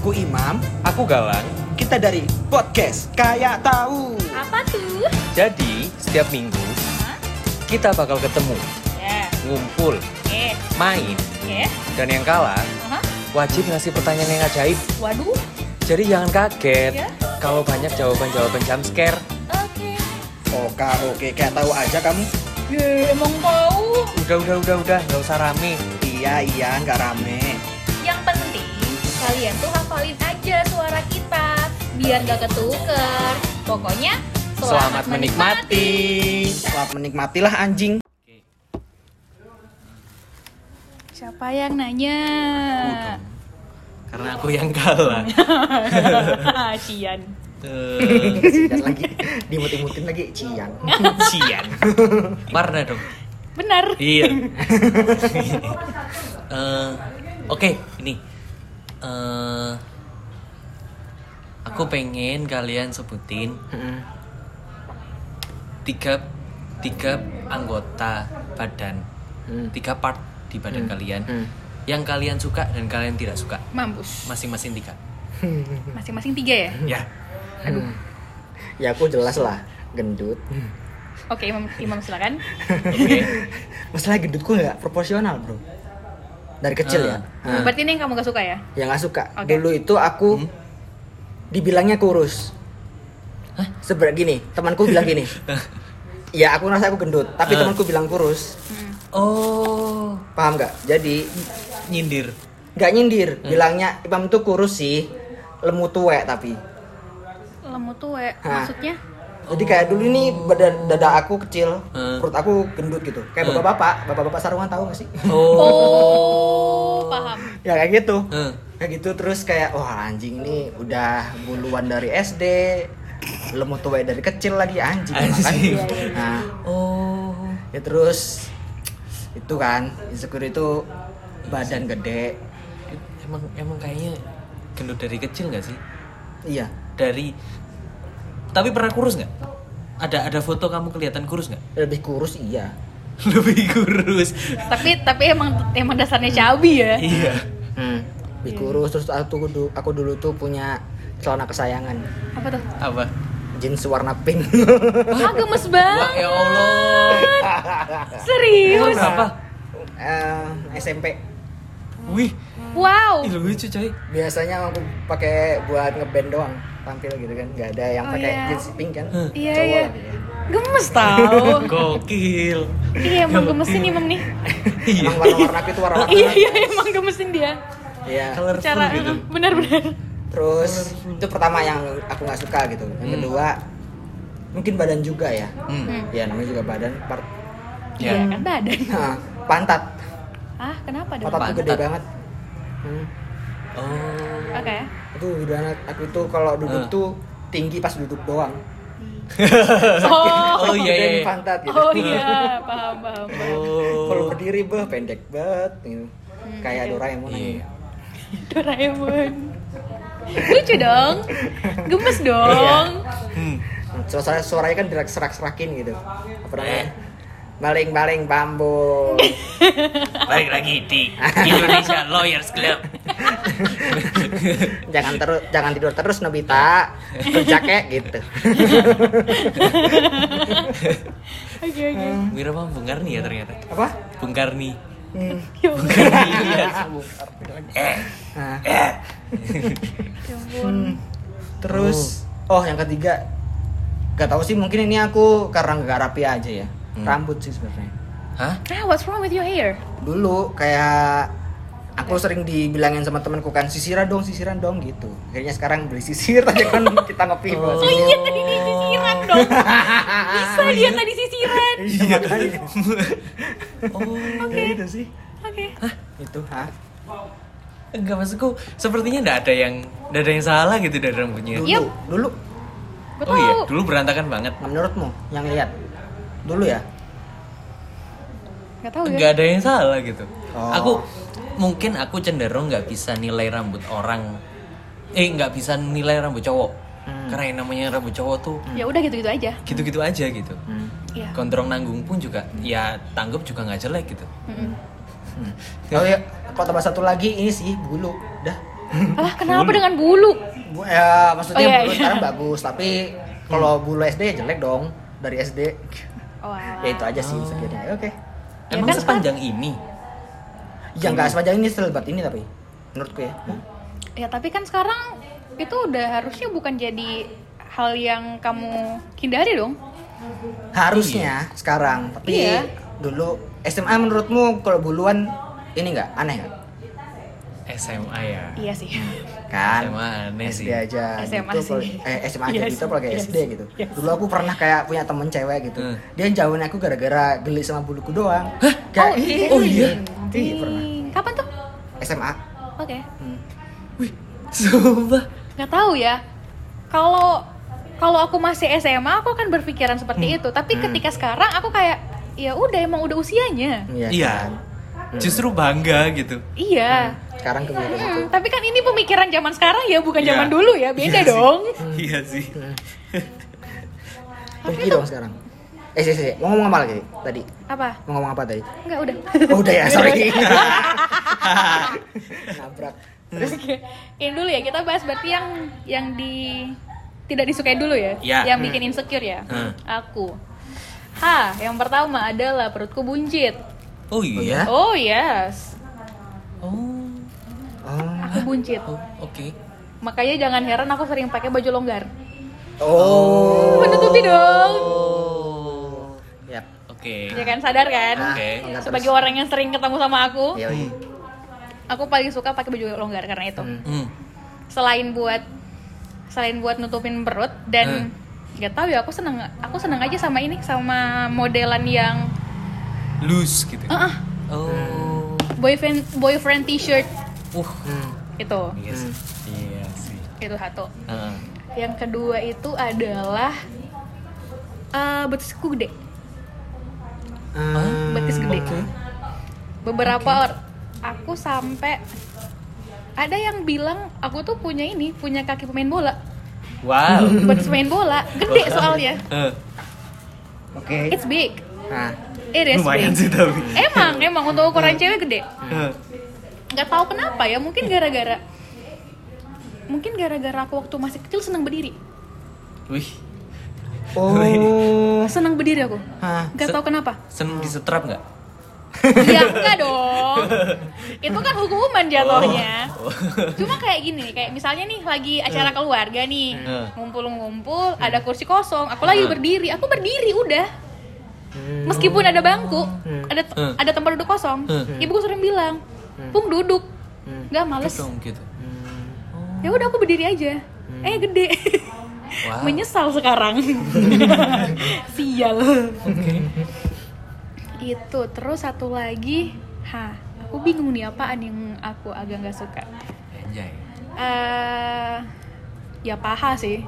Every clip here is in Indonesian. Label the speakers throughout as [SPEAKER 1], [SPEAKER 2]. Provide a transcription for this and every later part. [SPEAKER 1] Aku Imam,
[SPEAKER 2] Aku Galang.
[SPEAKER 1] kita dari podcast Kayak Tahu.
[SPEAKER 3] Apa tuh?
[SPEAKER 2] Jadi, setiap minggu kita bakal ketemu,
[SPEAKER 3] Ya,
[SPEAKER 2] ngumpul,
[SPEAKER 3] eh,
[SPEAKER 2] main,
[SPEAKER 3] ya.
[SPEAKER 2] dan yang kalah
[SPEAKER 3] Aha.
[SPEAKER 2] wajib ngasih pertanyaan yang ajaib.
[SPEAKER 3] Waduh.
[SPEAKER 2] Jadi jangan kaget
[SPEAKER 3] Ya.
[SPEAKER 2] kalau banyak jawaban-jawaban jump scare.
[SPEAKER 3] Oke.
[SPEAKER 1] Oke, oke, kayak tahu aja kamu.
[SPEAKER 3] Ye, emang tahu.
[SPEAKER 2] Udah, udah, udah, udah, nggak usah rame.
[SPEAKER 1] Iya, iya, nggak rame.
[SPEAKER 3] Yang penting kalian tuh hafalin aja suara kita biar gak ketuker. Pokoknya
[SPEAKER 2] Selamat menikmati.
[SPEAKER 1] Selamat menikmatilah anjing.
[SPEAKER 3] Siapa yang nanya?
[SPEAKER 2] Karena aku yang kalah.
[SPEAKER 3] Cian.
[SPEAKER 2] Eh,
[SPEAKER 1] Sian lagi, dimut-imutin lagi, cian.
[SPEAKER 2] Cian. Warna dong.
[SPEAKER 3] Benar.
[SPEAKER 2] Iya. Eh, Oke, ini. Eh, aku pengen kalian sebutin tiga tiga anggota badan, tiga part di badan kalian yang kalian suka dan kalian tidak suka
[SPEAKER 3] Mampus.
[SPEAKER 2] masing-masing tiga.
[SPEAKER 3] Masing-masing tiga ya?
[SPEAKER 2] Ya.
[SPEAKER 1] Ya aku jelas lah, gendut.
[SPEAKER 3] Oke, Imam, Imam silakan.
[SPEAKER 2] Oke.
[SPEAKER 1] Masalah gendutku nggak proporsional bro. Dari kecil ya.
[SPEAKER 2] Ah.
[SPEAKER 1] Ah.
[SPEAKER 3] Berarti ini yang kamu gak suka ya?
[SPEAKER 1] Ya nggak suka.
[SPEAKER 3] Oke.
[SPEAKER 1] Dulu itu aku
[SPEAKER 2] Hmm.
[SPEAKER 1] dibilangnya kurus.
[SPEAKER 2] Hah?
[SPEAKER 1] Seberat gini, temanku bilang gini. ya aku ngerasa aku gendut, tapi
[SPEAKER 2] Ah.
[SPEAKER 1] temanku bilang kurus.
[SPEAKER 3] Hmm.
[SPEAKER 2] Oh,
[SPEAKER 1] Paham nggak? Jadi
[SPEAKER 2] nyindir.
[SPEAKER 1] nggak nyindir, bilangnya Imam tuh kurus sih, lemu tuwek tapi.
[SPEAKER 3] Lemu tuwek.
[SPEAKER 1] Hah.
[SPEAKER 3] Maksudnya?
[SPEAKER 1] Jadi kayak dulu ini badan dada aku kecil,
[SPEAKER 2] Hmm.
[SPEAKER 1] perut aku gendut gitu. Kayak bapak-bapak, bapak-bapak sarungan tahu nggak sih?
[SPEAKER 3] Oh, paham.
[SPEAKER 1] ya kayak gitu.
[SPEAKER 2] Eh,
[SPEAKER 1] Kayak gitu terus kayak wah anjing ini udah buluan dari SD, lemu tuwek dari kecil lagi anjing.
[SPEAKER 2] Anjing.
[SPEAKER 1] Makan. Nah,
[SPEAKER 2] Oh.
[SPEAKER 1] ya terus itu kan insecure itu badan gede.
[SPEAKER 2] Emang emang kayaknya gendut dari kecil nggak sih?
[SPEAKER 1] Iya,
[SPEAKER 2] Dari tapi pernah kurus nggak? Ada ada foto kamu kelihatan kurus nggak?
[SPEAKER 1] lebih kurus iya.
[SPEAKER 2] Lebih kurus.
[SPEAKER 3] tapi tapi emang emang dasarnya cabi ya
[SPEAKER 2] iya.
[SPEAKER 1] Hmm. Lebih kurus terus aku dulu, aku dulu tuh punya celana kesayangan
[SPEAKER 3] apa tuh
[SPEAKER 2] Apa?
[SPEAKER 1] jeans warna pink.
[SPEAKER 3] ah gemes
[SPEAKER 2] Wah,
[SPEAKER 3] banget
[SPEAKER 2] ya Allah.
[SPEAKER 3] serius
[SPEAKER 2] Kenapa?
[SPEAKER 1] Eh, SMP
[SPEAKER 2] Wih,
[SPEAKER 3] wow
[SPEAKER 2] ih, lucu coy.
[SPEAKER 1] biasanya aku pakai buat ngeband doang tampil gitu kan nggak ada yang
[SPEAKER 3] Oh,
[SPEAKER 1] pakai
[SPEAKER 3] iya.
[SPEAKER 1] jeans pink kan
[SPEAKER 2] Hah.
[SPEAKER 3] iya
[SPEAKER 1] Cowok
[SPEAKER 3] iya
[SPEAKER 1] lagi.
[SPEAKER 3] gemes tau
[SPEAKER 2] Gokil. Iya.
[SPEAKER 3] iya emang gemesin imam nih
[SPEAKER 1] emang warna-warna aku itu warna warna
[SPEAKER 3] iya iya emang gemesin dia
[SPEAKER 1] iya
[SPEAKER 2] Colorful
[SPEAKER 3] cara eh,
[SPEAKER 2] gitu.
[SPEAKER 3] benar-benar
[SPEAKER 1] terus itu pertama yang aku nggak suka gitu yang
[SPEAKER 2] Hmm.
[SPEAKER 1] kedua mungkin badan juga ya
[SPEAKER 2] Hmm.
[SPEAKER 3] Hmm.
[SPEAKER 1] ya namanya juga badan part
[SPEAKER 2] Ya.
[SPEAKER 3] iya kan badan
[SPEAKER 1] Hah, pantat
[SPEAKER 3] ah kenapa dong
[SPEAKER 1] pantatku gede
[SPEAKER 2] Pantat.
[SPEAKER 1] banget hmm.
[SPEAKER 2] Oh.
[SPEAKER 3] oke
[SPEAKER 1] itu badan gitu, aku tuh kalau duduk
[SPEAKER 2] Ah.
[SPEAKER 1] tuh tinggi pas duduk doang
[SPEAKER 3] oh
[SPEAKER 2] Oh, iya, iya,
[SPEAKER 1] Gedein
[SPEAKER 2] iya.
[SPEAKER 1] pantat gitu
[SPEAKER 3] oh iya paham paham paham.
[SPEAKER 1] kalau
[SPEAKER 2] Oh.
[SPEAKER 1] berdiri beh pendek banget gitu. kayak Doraemon
[SPEAKER 2] Iya.
[SPEAKER 1] aja.
[SPEAKER 3] Doraemon lucu dong gemes dong
[SPEAKER 2] Hmm.
[SPEAKER 1] Nah, suara suaranya kan dirak serak serakin gitu apa
[SPEAKER 2] Eh.
[SPEAKER 1] namanya baling baling bambu
[SPEAKER 2] Balik lagi di Indonesia Lawyers Club.
[SPEAKER 1] jangan terus jangan tidur terus Nobita kerjaknya gitu
[SPEAKER 3] oke oke
[SPEAKER 2] Mira mah bungkar nih ya ternyata.
[SPEAKER 1] apa
[SPEAKER 2] Bungkar nih.
[SPEAKER 1] hmm.
[SPEAKER 3] Ya ampun.
[SPEAKER 2] Iya. Eh.
[SPEAKER 1] nah,
[SPEAKER 3] Ya ampun.
[SPEAKER 1] terus oh yang ketiga gak tahu sih mungkin ini aku karena nggak rapi aja ya
[SPEAKER 2] Hmm.
[SPEAKER 1] rambut sih sebenarnya
[SPEAKER 2] Hah?
[SPEAKER 3] Ah, what's wrong with your hair?
[SPEAKER 1] dulu kayak aku sering dibilangin sama temanku kan sisiran dong sisiran dong gitu akhirnya sekarang beli sisir aja kan kita ngopi buat
[SPEAKER 3] Oh iya tadi dia sisiran dong. Bisa dia tadi sisiran.
[SPEAKER 1] Ah, iya makanya.
[SPEAKER 2] Oh.
[SPEAKER 1] Ya gitu sih
[SPEAKER 3] Oke.
[SPEAKER 1] Ah, itu ha
[SPEAKER 2] Enggak maksudku, sepertinya enggak ada yang enggak ada yang salah gitu dari rambutnya.
[SPEAKER 1] dulu
[SPEAKER 3] Yup.
[SPEAKER 1] dulu
[SPEAKER 3] Gue
[SPEAKER 2] Oh iya,
[SPEAKER 3] tahu.
[SPEAKER 2] dulu berantakan banget.
[SPEAKER 1] Nah, menurutmu yang lihat dulu ya
[SPEAKER 3] Enggak tahu ya.
[SPEAKER 2] Enggak ada yang salah gitu.
[SPEAKER 1] Oh.
[SPEAKER 2] Aku mungkin aku cenderung nggak bisa nilai rambut orang. Eh, nggak bisa nilai rambut cowok.
[SPEAKER 3] Hmm.
[SPEAKER 2] Karena yang namanya rambut cowok tuh
[SPEAKER 3] Ya udah gitu-gitu aja.
[SPEAKER 2] gitu-gitu aja gitu.
[SPEAKER 3] Iya.
[SPEAKER 2] Gondrong nanggung pun juga ya tanggap juga nggak jelek gitu.
[SPEAKER 3] Mm-mm.
[SPEAKER 1] Oh, iya. kalau ya kalau tambah satu lagi ini sih bulu dah
[SPEAKER 3] Alah, kenapa dengan bulu?
[SPEAKER 1] Bu- ya, maksudnya
[SPEAKER 3] Oh, iya, iya.
[SPEAKER 1] bulu
[SPEAKER 3] Hmm.
[SPEAKER 1] sekarang bagus, tapi kalau bulu SD ya jelek dong dari SD.
[SPEAKER 3] Oh, alah.
[SPEAKER 1] Ya itu aja sih sebenarnya. Oke.
[SPEAKER 3] Ya
[SPEAKER 2] Emang
[SPEAKER 3] kan, Pak.
[SPEAKER 2] sepanjang ini?
[SPEAKER 1] Ya nggak sepanjang ini selebat ini tapi menurutku ya.
[SPEAKER 3] Ya, tapi kan sekarang itu udah harusnya bukan jadi hal yang kamu hindari dong.
[SPEAKER 1] Harusnya sekarang, tapi
[SPEAKER 3] Iya.
[SPEAKER 1] dulu SMA menurutmu kalau buluan ini nggak aneh nggak?
[SPEAKER 2] SMA ya.
[SPEAKER 3] Iya sih.
[SPEAKER 1] Kan.
[SPEAKER 2] SMA aneh sih.
[SPEAKER 1] SD aja
[SPEAKER 3] SMA
[SPEAKER 1] gitu,
[SPEAKER 3] sih.
[SPEAKER 1] kalau- eh, SMA aja
[SPEAKER 3] Iya
[SPEAKER 1] gitu
[SPEAKER 3] sih,
[SPEAKER 1] apalagi
[SPEAKER 3] iya
[SPEAKER 1] SD
[SPEAKER 3] sih,
[SPEAKER 1] gitu
[SPEAKER 3] iya sih.
[SPEAKER 1] dulu aku pernah kayak punya temen cewek gitu
[SPEAKER 2] Hmm.
[SPEAKER 1] dia jauhin aku gara-gara geli sama buluku doang kayak
[SPEAKER 3] iya.
[SPEAKER 1] oh iya iya
[SPEAKER 3] Ding.
[SPEAKER 1] pernah
[SPEAKER 3] Kapan tuh?
[SPEAKER 1] SMA
[SPEAKER 3] Oke.
[SPEAKER 1] Hmm.
[SPEAKER 2] Sumpah.
[SPEAKER 3] nggak tahu ya kalau kalau aku masih SMA aku kan berpikiran
[SPEAKER 1] Hmm.
[SPEAKER 3] seperti itu tapi ketika sekarang aku kayak ya udah emang udah usianya
[SPEAKER 2] Iya.
[SPEAKER 1] kan?
[SPEAKER 2] Justru bangga gitu.
[SPEAKER 3] iya
[SPEAKER 1] sekarang kemudian
[SPEAKER 3] Hmm,
[SPEAKER 1] itu
[SPEAKER 3] tapi kan ini pemikiran zaman sekarang ya bukan
[SPEAKER 2] Iya.
[SPEAKER 3] zaman dulu ya beda
[SPEAKER 2] Iya sih.
[SPEAKER 3] dong
[SPEAKER 2] Iya sih.
[SPEAKER 1] pergi gitu dong sekarang eh sih sih sih. mau ngomong apa lagi tadi
[SPEAKER 3] apa
[SPEAKER 1] mau ngomong apa tadi
[SPEAKER 3] nggak udah
[SPEAKER 1] oh udah ya sorry nabrak
[SPEAKER 3] Oke. ini dulu ya kita bahas berarti yang yang di tidak disukai dulu ya
[SPEAKER 2] Iya.
[SPEAKER 3] yang bikin insecure ya
[SPEAKER 2] Hmm.
[SPEAKER 3] aku ha yang pertama adalah perutku buncit
[SPEAKER 2] Oh iya.
[SPEAKER 3] oh yes
[SPEAKER 2] Oh.
[SPEAKER 1] oh
[SPEAKER 3] aku buncit
[SPEAKER 2] Oh, oke.
[SPEAKER 3] Makanya jangan heran aku sering pakai baju longgar.
[SPEAKER 1] oh
[SPEAKER 3] Menutupi dong.
[SPEAKER 2] Oh.
[SPEAKER 1] Yap.
[SPEAKER 2] Oke.
[SPEAKER 3] Ya kan sadar kan?
[SPEAKER 1] Ah,
[SPEAKER 2] Iya. Oke.
[SPEAKER 1] enggak
[SPEAKER 3] Sebagai
[SPEAKER 1] terus.
[SPEAKER 3] orang yang sering ketemu sama aku,
[SPEAKER 1] Iya, iya.
[SPEAKER 3] aku paling suka pakai baju longgar karena itu.
[SPEAKER 1] Hmm.
[SPEAKER 2] Hmm.
[SPEAKER 3] Selain buat selain buat nutupin perut dan
[SPEAKER 2] Hmm.
[SPEAKER 3] nggak tahu ya aku seneng aku seneng aja sama ini sama modelan yang
[SPEAKER 2] Loose gitu.
[SPEAKER 3] ah ah,
[SPEAKER 2] Oh.
[SPEAKER 3] boyfriend boyfriend t-shirt
[SPEAKER 2] Uh.
[SPEAKER 1] Hmm.
[SPEAKER 3] itu
[SPEAKER 2] Iya sih. Ah. Iya sih.
[SPEAKER 3] itu satu.
[SPEAKER 2] Heeh.
[SPEAKER 3] Yang kedua itu adalah eh betisku gede,
[SPEAKER 1] Hmm.
[SPEAKER 3] betis gede. beberapa or aku sampai ada yang bilang aku tuh punya ini punya kaki pemain bola
[SPEAKER 2] Wow.
[SPEAKER 3] buat main bola gede soalnya
[SPEAKER 2] Eh,
[SPEAKER 1] oke
[SPEAKER 3] it's big
[SPEAKER 1] nah
[SPEAKER 3] it is
[SPEAKER 2] lumayan
[SPEAKER 3] big
[SPEAKER 2] sih tapi.
[SPEAKER 3] emang emang untuk ukuran cewek gede
[SPEAKER 2] Eh,
[SPEAKER 3] nggak tahu kenapa ya mungkin gara-gara mungkin gara-gara aku waktu masih kecil senang berdiri
[SPEAKER 2] Wih.
[SPEAKER 1] oh Ah.
[SPEAKER 3] senang berdiri aku
[SPEAKER 1] Hah.
[SPEAKER 3] nggak tahu kenapa
[SPEAKER 2] Seneng disetrap nggak?
[SPEAKER 3] ya enggak dong itu kan hukuman jatuhnya cuma kayak gini nih, kayak misalnya nih lagi acara keluarga nih
[SPEAKER 2] Hmm.
[SPEAKER 3] ngumpul-ngumpul ada kursi kosong aku lagi
[SPEAKER 2] Hmm.
[SPEAKER 3] berdiri aku berdiri udah meskipun ada bangku ada
[SPEAKER 2] Hmm.
[SPEAKER 3] ada tempat duduk kosong
[SPEAKER 2] Hmm.
[SPEAKER 3] ibuku sering bilang pung duduk nggak males
[SPEAKER 2] Dong gitu.
[SPEAKER 3] ya udah aku berdiri aja eh gede
[SPEAKER 2] Wow.
[SPEAKER 3] menyesal sekarang sial
[SPEAKER 2] Oke.
[SPEAKER 3] itu terus satu lagi ha aku bingung nih apaan yang aku agak nggak suka
[SPEAKER 2] Anjay.
[SPEAKER 3] eh ya paha sih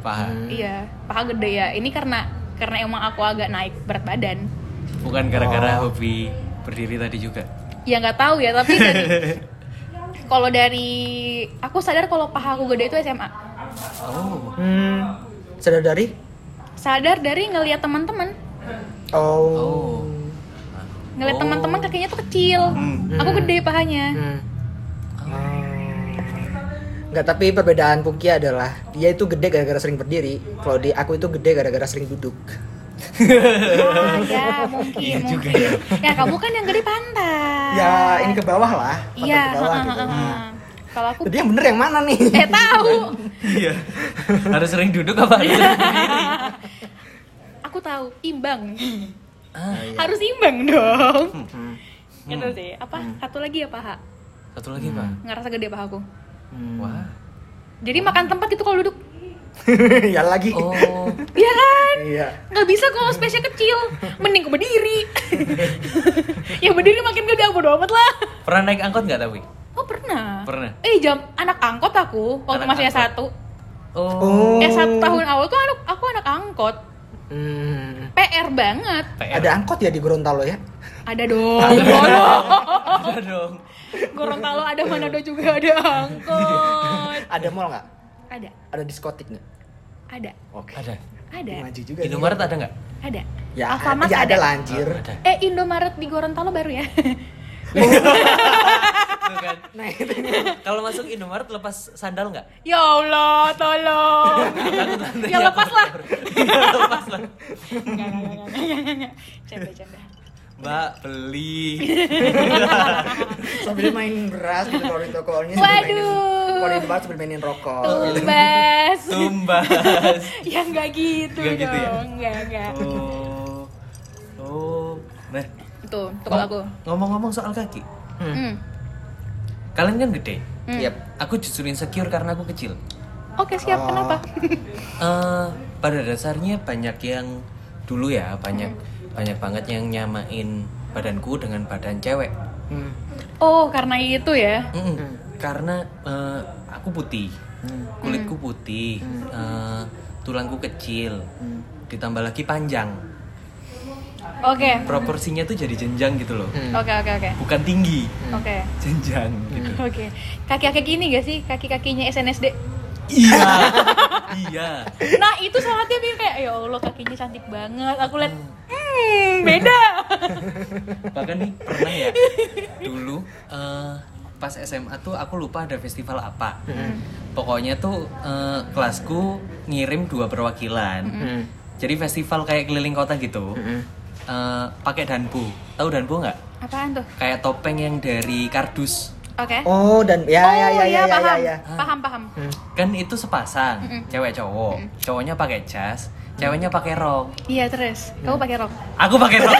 [SPEAKER 2] Paham.
[SPEAKER 3] iya paha gede ya ini karena karena emang aku agak naik berat badan
[SPEAKER 2] Bukan gara-gara
[SPEAKER 1] Oh.
[SPEAKER 2] hobi berdiri tadi juga.
[SPEAKER 3] ya nggak tahu ya tapi dari kalau dari aku sadar kalau paha aku gede itu SMA
[SPEAKER 2] Oh.
[SPEAKER 1] hmm. sadar dari
[SPEAKER 3] sadar dari ngelihat teman-teman
[SPEAKER 1] oh,
[SPEAKER 2] Oh.
[SPEAKER 3] ngelihat
[SPEAKER 2] Oh.
[SPEAKER 3] teman-teman kakinya tuh kecil
[SPEAKER 2] Hmm.
[SPEAKER 3] aku gede pahanya
[SPEAKER 1] Hmm.
[SPEAKER 3] Oh.
[SPEAKER 1] Enggak, tapi perbedaan Pungki adalah dia itu gede gara-gara sering berdiri, kalau di aku itu gede gara-gara sering duduk.
[SPEAKER 3] ah, ya mungkin
[SPEAKER 2] Iya juga
[SPEAKER 3] mungkin
[SPEAKER 2] ya.
[SPEAKER 3] ya kamu kan yang gede pantai
[SPEAKER 1] Ya, ini ke bawah lah, pantat
[SPEAKER 3] Ah. iya
[SPEAKER 1] ke bawah
[SPEAKER 3] ha, ha,
[SPEAKER 1] gitu.
[SPEAKER 3] ha, ha. kalau aku
[SPEAKER 1] Jadi yang bener yang mana nih?
[SPEAKER 3] eh tahu
[SPEAKER 2] Iya. Harus sering duduk apa? harus sering berdiri?
[SPEAKER 3] aku tahu imbang
[SPEAKER 2] Ah,
[SPEAKER 1] iya.
[SPEAKER 3] harus imbang dong
[SPEAKER 1] Hmm.
[SPEAKER 3] gitu sih apa satu lagi ya paha
[SPEAKER 2] Satu lagi, Pak.
[SPEAKER 3] ngerasa gede pahaku
[SPEAKER 1] Hmm.
[SPEAKER 2] Wah.
[SPEAKER 3] jadi makan tempat gitu kalau duduk
[SPEAKER 1] ya lagi.
[SPEAKER 2] Oh.
[SPEAKER 3] ya kan
[SPEAKER 1] Iya.
[SPEAKER 3] nggak bisa kalau spesial kecil mending ke berdiri ya berdiri makin gede bodo amat lah
[SPEAKER 2] Pernah naik angkot nggak tapi?
[SPEAKER 3] oh pernah
[SPEAKER 2] Pernah.
[SPEAKER 3] eh jam anak angkot aku waktu
[SPEAKER 2] Anak
[SPEAKER 3] masih S1
[SPEAKER 2] angkot.
[SPEAKER 1] Oh.
[SPEAKER 3] S1 Eh, tahun awal tuh anak aku anak angkot
[SPEAKER 1] Hmm.
[SPEAKER 3] PR banget
[SPEAKER 2] PR.
[SPEAKER 1] Ada angkot ya di Gorontalo ya?
[SPEAKER 3] ada dong
[SPEAKER 2] Ada dong.
[SPEAKER 3] Gorontalo ada Manado juga ada angkot
[SPEAKER 1] Ada mall nggak?
[SPEAKER 3] ada
[SPEAKER 1] Ada diskotik nggak?
[SPEAKER 3] ada
[SPEAKER 1] Oke.
[SPEAKER 2] Ada.
[SPEAKER 3] ada
[SPEAKER 1] Maju juga. nih.
[SPEAKER 2] Indomaret ada nggak?
[SPEAKER 3] ada
[SPEAKER 1] Ya,
[SPEAKER 3] Alfamart
[SPEAKER 1] ya ada
[SPEAKER 3] ada.
[SPEAKER 1] lah anjir.
[SPEAKER 2] Oh, ada.
[SPEAKER 3] Eh Indomaret di Gorontalo baru ya?
[SPEAKER 2] Tuh kan.
[SPEAKER 1] Nah, itu ini
[SPEAKER 2] Kalau masuk Indomaret lepas sandal nggak?
[SPEAKER 3] Ya Allah, tolong. ya lepas lah.
[SPEAKER 2] lepas lah.
[SPEAKER 3] Enggak, enggak, enggak, enggak, enggak. Canda, canda.
[SPEAKER 2] Mbak beli.
[SPEAKER 1] sambil main beras gitu kalau di tokonya
[SPEAKER 3] Waduh.
[SPEAKER 1] kalau di bar sambil mainin rokok
[SPEAKER 2] Oh, iya.
[SPEAKER 1] Iya.
[SPEAKER 3] Tumbas.
[SPEAKER 2] Tumbas.
[SPEAKER 3] ya enggak gitu
[SPEAKER 2] Enggak gitu ya?
[SPEAKER 3] dong. Enggak, enggak.
[SPEAKER 2] Oh. Oh. Nah,
[SPEAKER 3] Tuh, tuh kalau aku.
[SPEAKER 2] Ngomong-ngomong soal kaki.
[SPEAKER 3] Hmm.
[SPEAKER 2] Kalian kan gede.
[SPEAKER 3] Hmm.
[SPEAKER 1] Yap.
[SPEAKER 2] Aku justru insecure karena aku kecil.
[SPEAKER 3] Oke, siap.
[SPEAKER 1] Oh.
[SPEAKER 3] Kenapa?
[SPEAKER 2] Eh, pada dasarnya banyak yang dulu ya, banyak banyak banget yang nyamain badanku dengan badan cewek.
[SPEAKER 1] Hmm.
[SPEAKER 3] Oh, karena itu ya.
[SPEAKER 2] Mm-mm. Karena eh, aku putih, kulitku putih, eh, tulangku kecil, ditambah lagi panjang.
[SPEAKER 3] Oke.
[SPEAKER 2] Proporsinya tuh jadi jenjang gitu loh,
[SPEAKER 3] Oke, oke, oke.
[SPEAKER 2] bukan tinggi,
[SPEAKER 1] Hmm.
[SPEAKER 3] Oke.
[SPEAKER 2] jenjang gitu.
[SPEAKER 3] Oke. Kaki-kaki gini gak sih? Kaki-kakinya SNSD.
[SPEAKER 2] Iya, iya.
[SPEAKER 3] Nah, itu saatnya bikin kayak ya Allah kakinya cantik banget. Aku lihat hmm, beda.
[SPEAKER 2] Bahkan nih pernah ya, dulu eh, pas SMA tuh aku lupa ada festival apa. Pokoknya tuh eh, kelasku ngirim dua perwakilan.
[SPEAKER 1] Hmm.
[SPEAKER 2] Jadi festival kayak keliling kota gitu.
[SPEAKER 3] Hmm.
[SPEAKER 2] Eh, pakai danbu. Tahu danbu nggak?
[SPEAKER 3] Apaan tuh?
[SPEAKER 2] Kayak topeng yang dari kardus.
[SPEAKER 3] Oke.
[SPEAKER 1] oh dan ya ya ya ya ya ya,
[SPEAKER 3] iya, paham.
[SPEAKER 1] ya.
[SPEAKER 3] Paham, paham.
[SPEAKER 2] Kan itu sepasang, cewek cowok. Cowoknya pakai jas, ceweknya pakai rok.
[SPEAKER 3] Iya, terus. Kamu
[SPEAKER 1] Hmm.
[SPEAKER 3] pakai rok.
[SPEAKER 2] Aku pakai rok.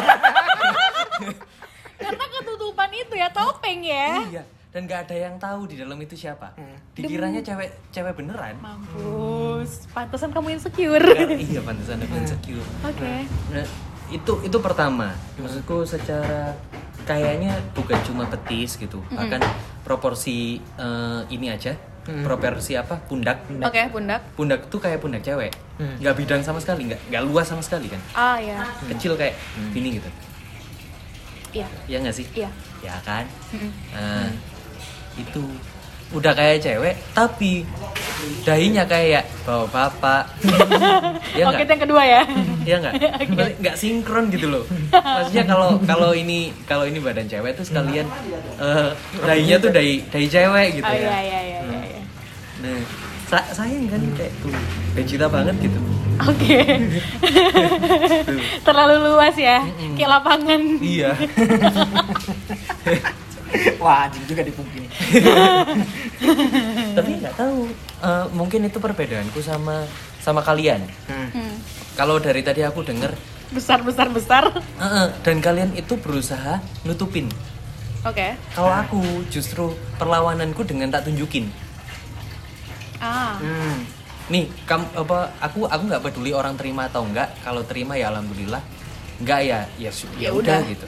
[SPEAKER 3] Karena ketutupan itu ya topeng ya.
[SPEAKER 2] iya. Dan nggak ada yang tahu di dalam itu siapa. Dikiranya cewek cewek beneran.
[SPEAKER 3] Mampus. Pantesan kamu insecure.
[SPEAKER 2] Kan, iya pantesan aku insecure.
[SPEAKER 3] Oke.
[SPEAKER 2] Nah, itu itu pertama. Maksudku secara kayaknya bukan cuma petis gitu, bahkan proporsi eh, ini aja, proporsi apa pundak.
[SPEAKER 3] Oke, pundak.
[SPEAKER 2] Pundak tuh kayak pundak cewek, nggak bidang sama sekali, nggak nggak luas sama sekali kan,
[SPEAKER 3] Ah, ya.
[SPEAKER 2] kecil kayak gini gitu.
[SPEAKER 3] Iya.
[SPEAKER 2] Iya nggak sih?
[SPEAKER 3] Iya. Hmm.
[SPEAKER 2] Ya kan.
[SPEAKER 3] Mm-mm.
[SPEAKER 2] Nah, itu udah kayak cewek, tapi dahinya kayak bawa bapak. Iya
[SPEAKER 3] Oke,
[SPEAKER 2] nggak?
[SPEAKER 3] itu yang kedua ya.
[SPEAKER 2] Iya nggak? Berarti nggak sinkron gitu loh. Maksudnya kalau kalau ini kalau ini badan cewek tuh sekalian eh dahinya tuh dahi dahi cewek gitu
[SPEAKER 3] Oh, iya,
[SPEAKER 2] ya.
[SPEAKER 3] iya, iya, iya, iya.
[SPEAKER 2] Nah, sa- sayang kan kayak tuh Vegeta banget gitu.
[SPEAKER 3] Oke. Terlalu luas ya. Kayak lapangan.
[SPEAKER 2] Hmm, Iya.
[SPEAKER 1] wah anjing juga dipungkiri
[SPEAKER 2] Hmm. Tapi nggak tahu. Eh, mungkin itu perbedaanku sama sama kalian.
[SPEAKER 3] Hmm.
[SPEAKER 2] Kalau dari tadi aku denger
[SPEAKER 3] Besar, besar, besar.
[SPEAKER 2] eh, eh, dan kalian itu berusaha nutupin.
[SPEAKER 3] Oke.
[SPEAKER 2] Kalau aku justru perlawananku dengan tak tunjukin.
[SPEAKER 3] Ah.
[SPEAKER 1] hmm.
[SPEAKER 2] nih kamu apa aku aku nggak peduli orang terima atau enggak kalau terima ya alhamdulillah enggak ya ya su-
[SPEAKER 3] Ya
[SPEAKER 2] ya udah
[SPEAKER 3] udah.
[SPEAKER 2] gitu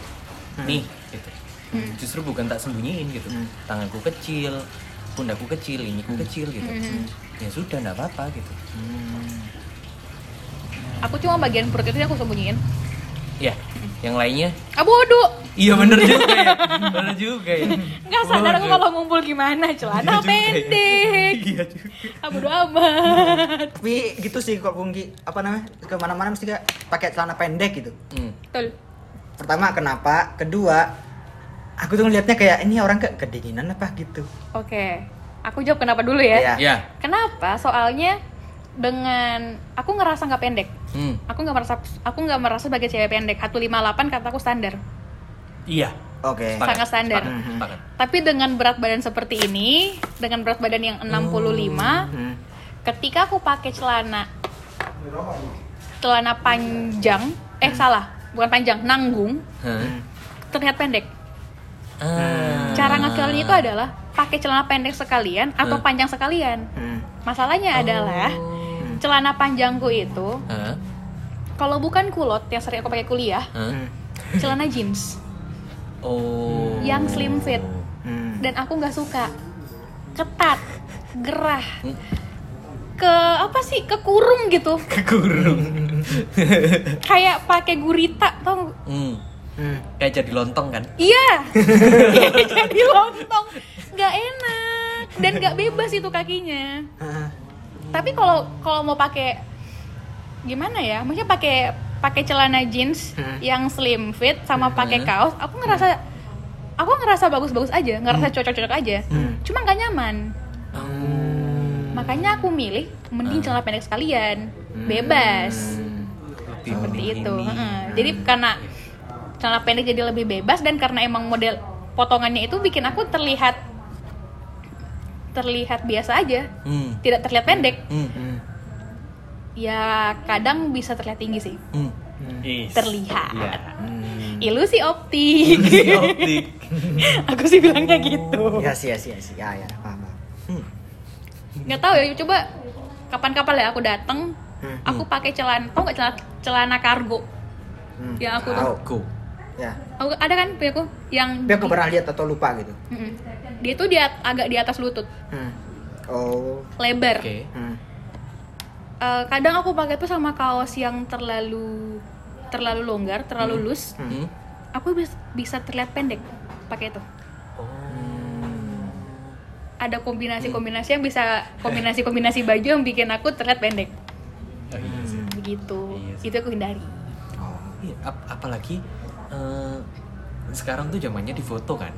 [SPEAKER 2] nih gitu justru bukan tak sembunyiin gitu tanganku kecil pundakku kecil ini kecil gitu ya sudah enggak apa-apa gitu
[SPEAKER 3] Aku cuma bagian perut itu yang aku sembunyiin.
[SPEAKER 2] ya yang lainnya
[SPEAKER 3] Abu bodoh.
[SPEAKER 2] iya bener juga ya bener juga ya
[SPEAKER 3] Hmm. Nggak sadar aku
[SPEAKER 2] Waduh.
[SPEAKER 3] kalau ngumpul gimana celana
[SPEAKER 2] Iya juga ya.
[SPEAKER 3] pendek.
[SPEAKER 2] iya juga.
[SPEAKER 3] Abu amat.
[SPEAKER 1] tapi gitu sih kalau Pungki apa namanya kemana-mana mesti kayak pakai celana pendek gitu
[SPEAKER 2] Hmm.
[SPEAKER 3] Betul.
[SPEAKER 1] pertama kenapa kedua aku tuh ngelihatnya kayak ini orang ke kedinginan apa gitu
[SPEAKER 3] Oke. Aku jawab kenapa dulu ya.
[SPEAKER 1] Iya.
[SPEAKER 2] ya
[SPEAKER 3] Kenapa? Soalnya dengan aku ngerasa nggak pendek.
[SPEAKER 2] Hmm.
[SPEAKER 3] Aku nggak merasa aku nggak merasa sebagai cewek pendek. 158 kataku standar.
[SPEAKER 2] iya Hmm.
[SPEAKER 1] oke
[SPEAKER 2] Sepakat,
[SPEAKER 3] Sangat standar.
[SPEAKER 2] sepakat, sepakat.
[SPEAKER 3] Tapi dengan berat badan seperti ini, dengan berat badan yang 65,
[SPEAKER 1] Hmm.
[SPEAKER 3] ketika aku pakai celana celana panjang, eh salah, bukan panjang, nanggung,
[SPEAKER 2] Hah?
[SPEAKER 3] terlihat pendek.
[SPEAKER 2] Ah.
[SPEAKER 3] Hmm. Cara ngekalnya itu adalah pakai celana pendek sekalian atau
[SPEAKER 2] Hmm. Oh.
[SPEAKER 3] panjang sekalian.
[SPEAKER 1] Hmm.
[SPEAKER 3] Masalahnya adalah celana panjangku itu
[SPEAKER 2] Hah?
[SPEAKER 3] kalau bukan kulot yang sering aku pakai kuliah,
[SPEAKER 2] Hah?
[SPEAKER 1] Hmm.
[SPEAKER 3] celana jeans
[SPEAKER 2] Oh.
[SPEAKER 3] yang slim fit
[SPEAKER 1] Hmm.
[SPEAKER 3] dan aku nggak suka. Ketat, gerah,
[SPEAKER 2] Hmm.
[SPEAKER 3] ke apa sih? Kekurung gitu.
[SPEAKER 2] Kekurung.
[SPEAKER 3] Kayak pakai gurita tau nggak?
[SPEAKER 2] Hmm.
[SPEAKER 1] Hmm.
[SPEAKER 2] Kayak jadi lontong kan?
[SPEAKER 3] Iya. Jadi lontong, nggak enak dan nggak bebas itu kakinya.
[SPEAKER 1] Ah.
[SPEAKER 3] tapi kalau kalau mau pakai gimana ya mungkin pakai pakai celana jeans
[SPEAKER 1] Hmm.
[SPEAKER 3] yang slim fit sama pakai
[SPEAKER 2] Hmm.
[SPEAKER 3] kaos aku ngerasa aku ngerasa bagus-bagus aja ngerasa cocok-cocok aja cuma nggak nyaman
[SPEAKER 1] Hmm.
[SPEAKER 3] makanya aku milih
[SPEAKER 2] Ah.
[SPEAKER 3] mending celana pendek sekalian bebas
[SPEAKER 2] Lebih
[SPEAKER 3] seperti
[SPEAKER 2] Hmm. mending
[SPEAKER 3] itu
[SPEAKER 2] ini.
[SPEAKER 3] Heeh. jadi karena celana pendek jadi lebih bebas dan karena emang model potongannya itu bikin aku terlihat terlihat biasa aja
[SPEAKER 2] Hmm.
[SPEAKER 3] tidak terlihat pendek
[SPEAKER 2] Hmm. Hmm.
[SPEAKER 3] ya kadang bisa terlihat tinggi sih
[SPEAKER 2] Hmm.
[SPEAKER 3] Terlihat.
[SPEAKER 2] Iya.
[SPEAKER 3] ilusi optik
[SPEAKER 2] Isi optik.
[SPEAKER 3] aku sih bilangnya
[SPEAKER 2] Oh.
[SPEAKER 3] gitu
[SPEAKER 1] Ya sih, ya sih, ya sih. Ya, ya, paham. paham.
[SPEAKER 3] nggak tahu ya coba kapan-kapan ya aku datang
[SPEAKER 1] Hmm.
[SPEAKER 3] aku pakai celana tau nggak celana celana kargo
[SPEAKER 1] Hmm.
[SPEAKER 3] Ya, aku
[SPEAKER 1] Tahu.
[SPEAKER 2] Go.
[SPEAKER 1] Ya.
[SPEAKER 3] Aku, ada kan punya aku yang
[SPEAKER 1] Tapi aku pernah lihat atau lupa gitu.
[SPEAKER 3] Mm-mm. dia tuh dia agak di atas lutut
[SPEAKER 1] Hmm. Oh.
[SPEAKER 3] lebar
[SPEAKER 2] Oke.
[SPEAKER 1] Hmm.
[SPEAKER 3] Eh, kadang aku pakai tuh sama kaos yang terlalu terlalu longgar terlalu loose
[SPEAKER 2] Hmm.
[SPEAKER 3] aku bis- bisa terlihat pendek pakai itu
[SPEAKER 2] Oh.
[SPEAKER 3] ada kombinasi-kombinasi yang bisa kombinasi-kombinasi baju yang bikin aku terlihat pendek
[SPEAKER 2] Oh, iya.
[SPEAKER 3] begitu
[SPEAKER 2] Iya sih.
[SPEAKER 3] itu aku hindari
[SPEAKER 1] Oh.
[SPEAKER 2] Iya, ap- apalagi eh, sekarang tuh zamannya di foto kan.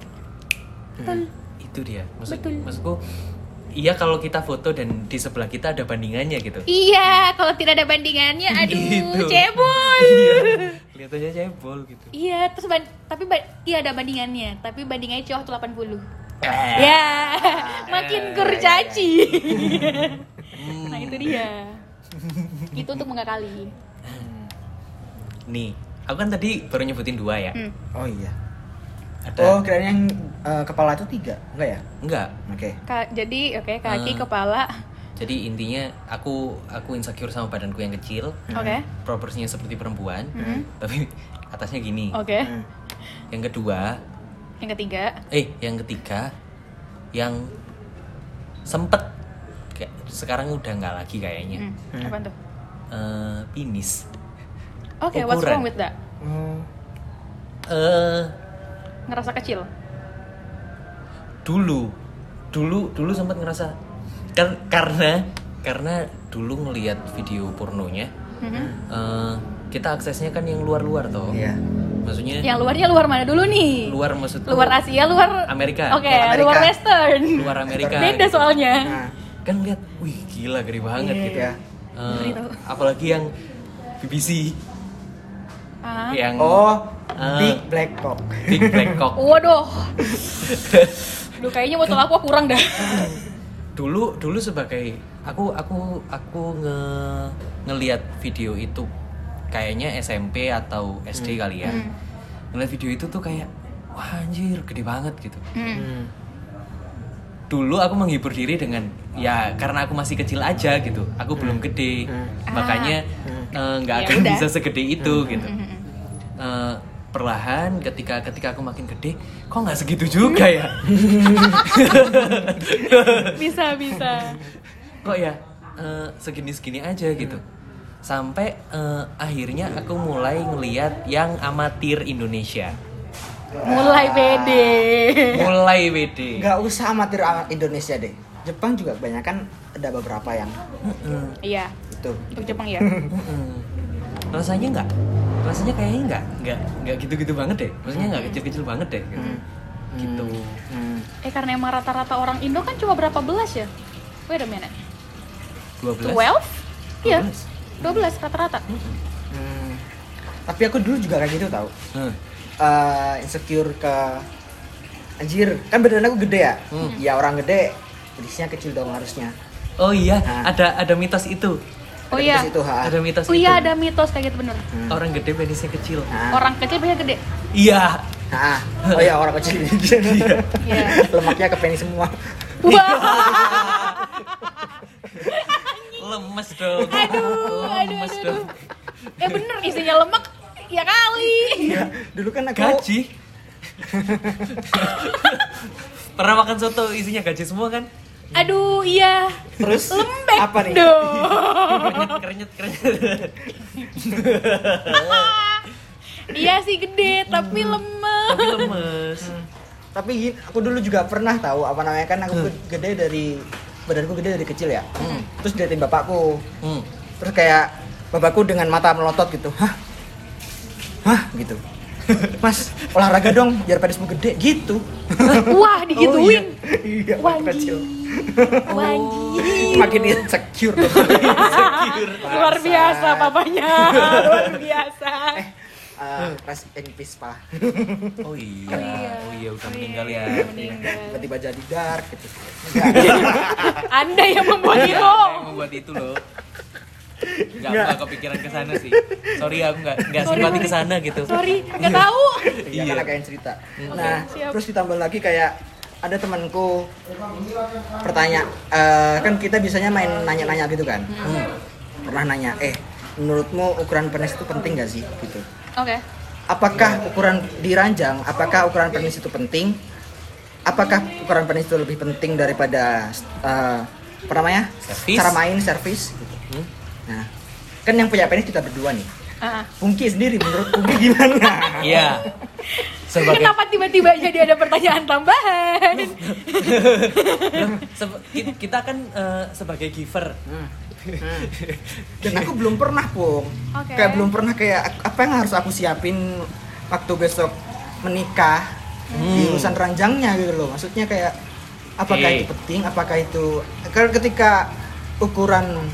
[SPEAKER 2] Hmm.
[SPEAKER 3] Betul.
[SPEAKER 2] Itu dia. Maksud,
[SPEAKER 3] Betul.
[SPEAKER 2] Maksudku iya kalau kita foto dan di sebelah kita ada bandingannya gitu.
[SPEAKER 3] Iya, kalau tidak ada bandingannya, aduh,
[SPEAKER 2] Gitu.
[SPEAKER 3] cebol.
[SPEAKER 2] Iya, Kelihatannya cebol gitu.
[SPEAKER 3] Iya, terus ban- tapi ba- iya ada bandingannya, tapi bandingannya cowok tuh 80.
[SPEAKER 2] Eh, iya,
[SPEAKER 3] Ya, makin kurcaci.
[SPEAKER 2] hmm,
[SPEAKER 3] nah, itu dia. itu untuk mengakali.
[SPEAKER 2] Nih, aku kan tadi baru nyebutin dua ya.
[SPEAKER 3] Hmm.
[SPEAKER 1] Oh iya.
[SPEAKER 2] Ada
[SPEAKER 1] Oh, kirain yang eh, kepala itu tiga, enggak ya?
[SPEAKER 2] enggak?
[SPEAKER 1] Oke.
[SPEAKER 3] Ka- jadi, oke, kaki,
[SPEAKER 2] Hmm.
[SPEAKER 3] kepala.
[SPEAKER 2] Jadi intinya aku aku insecure sama badanku yang kecil,
[SPEAKER 3] Oke.
[SPEAKER 2] proporsinya seperti perempuan,
[SPEAKER 3] Mhm.
[SPEAKER 2] tapi atasnya gini.
[SPEAKER 3] Oke.
[SPEAKER 1] Hmm.
[SPEAKER 2] Yang kedua,
[SPEAKER 3] Yang ketiga,
[SPEAKER 2] eh yang ketiga yang sempet kayak sekarang udah nggak lagi kayaknya
[SPEAKER 3] hmm.
[SPEAKER 1] Hmm.
[SPEAKER 3] apa tuh?
[SPEAKER 2] Eh, penis
[SPEAKER 3] Oke, what's
[SPEAKER 2] Ukuran.
[SPEAKER 3] wrong with that?
[SPEAKER 1] Oh.
[SPEAKER 2] eh
[SPEAKER 3] Ngerasa kecil.
[SPEAKER 2] dulu dulu dulu sempet ngerasa kan karena karena dulu ngelihat video pornonya
[SPEAKER 3] Mhm.
[SPEAKER 2] eh, kita aksesnya kan yang luar-luar toh
[SPEAKER 1] Iya.
[SPEAKER 2] maksudnya
[SPEAKER 3] Yang luarnya luar mana dulu nih?
[SPEAKER 2] Eh. luar maksudku
[SPEAKER 3] Luar Asia, luar
[SPEAKER 2] Amerika.
[SPEAKER 3] Oke,
[SPEAKER 1] Luar Amerika.
[SPEAKER 3] luar Western.
[SPEAKER 2] luar Amerika
[SPEAKER 3] Beda
[SPEAKER 2] gitu.
[SPEAKER 3] soalnya.
[SPEAKER 1] Nah.
[SPEAKER 2] kan lihat wih gila gede banget gitu
[SPEAKER 1] Iya.
[SPEAKER 2] Eh,
[SPEAKER 3] Ngeri tau.
[SPEAKER 2] apalagi yang BBC
[SPEAKER 3] Ah.
[SPEAKER 2] yang
[SPEAKER 1] Oh,
[SPEAKER 2] Ah.
[SPEAKER 1] big black cock.
[SPEAKER 2] Big Black Cock.
[SPEAKER 3] Waduh. Duh kayaknya botol aku kurang dah.
[SPEAKER 2] Dulu dulu sebagai aku aku aku nge ngelihat video itu kayaknya SMP atau SD kali ya.
[SPEAKER 3] Hmm.
[SPEAKER 2] Ngelihat video itu tuh kayak wah anjir gede banget gitu.
[SPEAKER 3] Hmm.
[SPEAKER 1] Hmm.
[SPEAKER 2] Dulu aku menghibur diri dengan ya karena aku masih kecil aja gitu. Aku belum gede.
[SPEAKER 3] Ah.
[SPEAKER 2] Makanya eh, nggak
[SPEAKER 3] Ya
[SPEAKER 2] akan
[SPEAKER 3] udah. Hmm.
[SPEAKER 2] bisa segede itu gitu. Eh, perlahan ketika ketika aku makin gede kok nggak segitu juga ya
[SPEAKER 3] Bisa bisa.
[SPEAKER 2] kok ya eh, segini-segini aja gitu sampai eh, akhirnya aku mulai ngeliat yang amatir Indonesia
[SPEAKER 3] Mulai pede.
[SPEAKER 2] mulai WD
[SPEAKER 1] Nggak usah amatir amat Indonesia deh. Jepang juga kebanyakan ada beberapa yang
[SPEAKER 3] Iya,
[SPEAKER 1] itu.
[SPEAKER 3] untuk Jepang ya.
[SPEAKER 2] rasanya nggak rasanya kayaknya nggak nggak nggak gitu-gitu banget deh maksudnya nggak kecil-kecil banget deh gitu gitu
[SPEAKER 1] Hmm.
[SPEAKER 3] Eh karena emang rata-rata orang Indo kan cuma berapa belas ya? Wait a minute.
[SPEAKER 2] 12
[SPEAKER 3] 12? Iya. 12
[SPEAKER 2] 12.
[SPEAKER 3] rata-rata.
[SPEAKER 1] Hmm. Tapi aku dulu juga kayak gitu tau.
[SPEAKER 2] Hmm.
[SPEAKER 1] Eh, insecure ke anjir kan badan aku gede ya ya orang gede pedisnya kecil dong harusnya
[SPEAKER 2] oh iya
[SPEAKER 1] Nah.
[SPEAKER 2] ada ada mitos itu
[SPEAKER 3] Oh iya.
[SPEAKER 1] itu ha
[SPEAKER 2] ada mitos
[SPEAKER 3] Oh
[SPEAKER 2] itu
[SPEAKER 3] iya ada mitos kayak gitu bener.
[SPEAKER 1] Hmm.
[SPEAKER 2] orang gede penisnya kecil
[SPEAKER 1] Nah.
[SPEAKER 3] Orang kecil banyak gede.
[SPEAKER 2] iya
[SPEAKER 1] Ah, oh ya orang kecil Iya.
[SPEAKER 3] Iya.
[SPEAKER 1] Lemaknya ke penis semua.
[SPEAKER 3] Wah,
[SPEAKER 2] lemes dong Oh,
[SPEAKER 3] aduh, aduh,
[SPEAKER 2] lemes
[SPEAKER 3] aduh,
[SPEAKER 2] dong
[SPEAKER 3] aduh. Eh bener isinya lemak ya kali.
[SPEAKER 1] Iya, dulu kan aku
[SPEAKER 2] gaji pernah makan soto isinya gaji semua kan
[SPEAKER 3] Aduh iya.
[SPEAKER 1] terus
[SPEAKER 3] Lembek
[SPEAKER 1] apa nih?
[SPEAKER 3] dong.
[SPEAKER 2] kerenyet kerenyet
[SPEAKER 3] Iya sih gede, tapi
[SPEAKER 1] Hmm.
[SPEAKER 3] lemah.
[SPEAKER 2] tapi lemes
[SPEAKER 1] Tapi gini, aku dulu juga pernah tahu apa namanya kan aku gede dari badanku gede dari kecil ya. Terus diliatin bapakku.
[SPEAKER 2] hmm.
[SPEAKER 1] Terus kayak bapakku dengan mata melotot gitu. Hah? Hah gitu. mas olahraga dong biar penismu gede gitu
[SPEAKER 3] Wah, digituin.
[SPEAKER 1] oh, iya, iya
[SPEAKER 3] Wanji.
[SPEAKER 1] waktu kecil
[SPEAKER 3] Wanjir.
[SPEAKER 1] makin insecure dong.
[SPEAKER 3] Luar biasa papanya. Luar biasa.
[SPEAKER 1] eh uh, rest in peace pak
[SPEAKER 2] Oh iya. Oh iya udah meninggal ya.
[SPEAKER 3] Iya, meninggal.
[SPEAKER 1] tiba-tiba jadi dark gitu
[SPEAKER 3] Anda yang membuat itu.
[SPEAKER 2] Apa yang membuat itu loh. Gak, gak kepikiran ke sana sih. Sorry aku gak, gak
[SPEAKER 3] Sorry,
[SPEAKER 2] simpati
[SPEAKER 3] sorry.
[SPEAKER 2] ke sana gitu.
[SPEAKER 3] Sorry, nggak tahu.
[SPEAKER 1] iya kan agak yang cerita nah
[SPEAKER 3] siap.
[SPEAKER 1] terus ditambah lagi kayak ada temanku pertanya eh, kan kita biasanya main nanya-nanya gitu kan pernah nanya eh menurutmu ukuran penis itu penting gak sih gitu
[SPEAKER 3] Oke.
[SPEAKER 1] apakah ukuran diranjang apakah ukuran penis itu penting apakah ukuran penis itu lebih penting daripada eh, apa namanya
[SPEAKER 2] Servis.
[SPEAKER 1] cara main servis gitu. nah kan yang punya penis kita berdua nih
[SPEAKER 3] Ah.
[SPEAKER 1] Pungki sendiri menurut Pungki gimana
[SPEAKER 2] Iya. Sebagai
[SPEAKER 3] Kenapa tiba-tiba jadi ada pertanyaan tambahan?
[SPEAKER 2] Loh, seba- ki- kita kan eh, sebagai giver.
[SPEAKER 1] dan aku belum pernah pung
[SPEAKER 3] Oke.
[SPEAKER 1] kayak belum pernah kayak ak- apa yang harus aku siapin waktu besok menikah di urusan ranjangnya gitu loh maksudnya kayak apakah
[SPEAKER 2] Hmm. Oke.
[SPEAKER 1] itu penting apakah itu karena ketika ukuran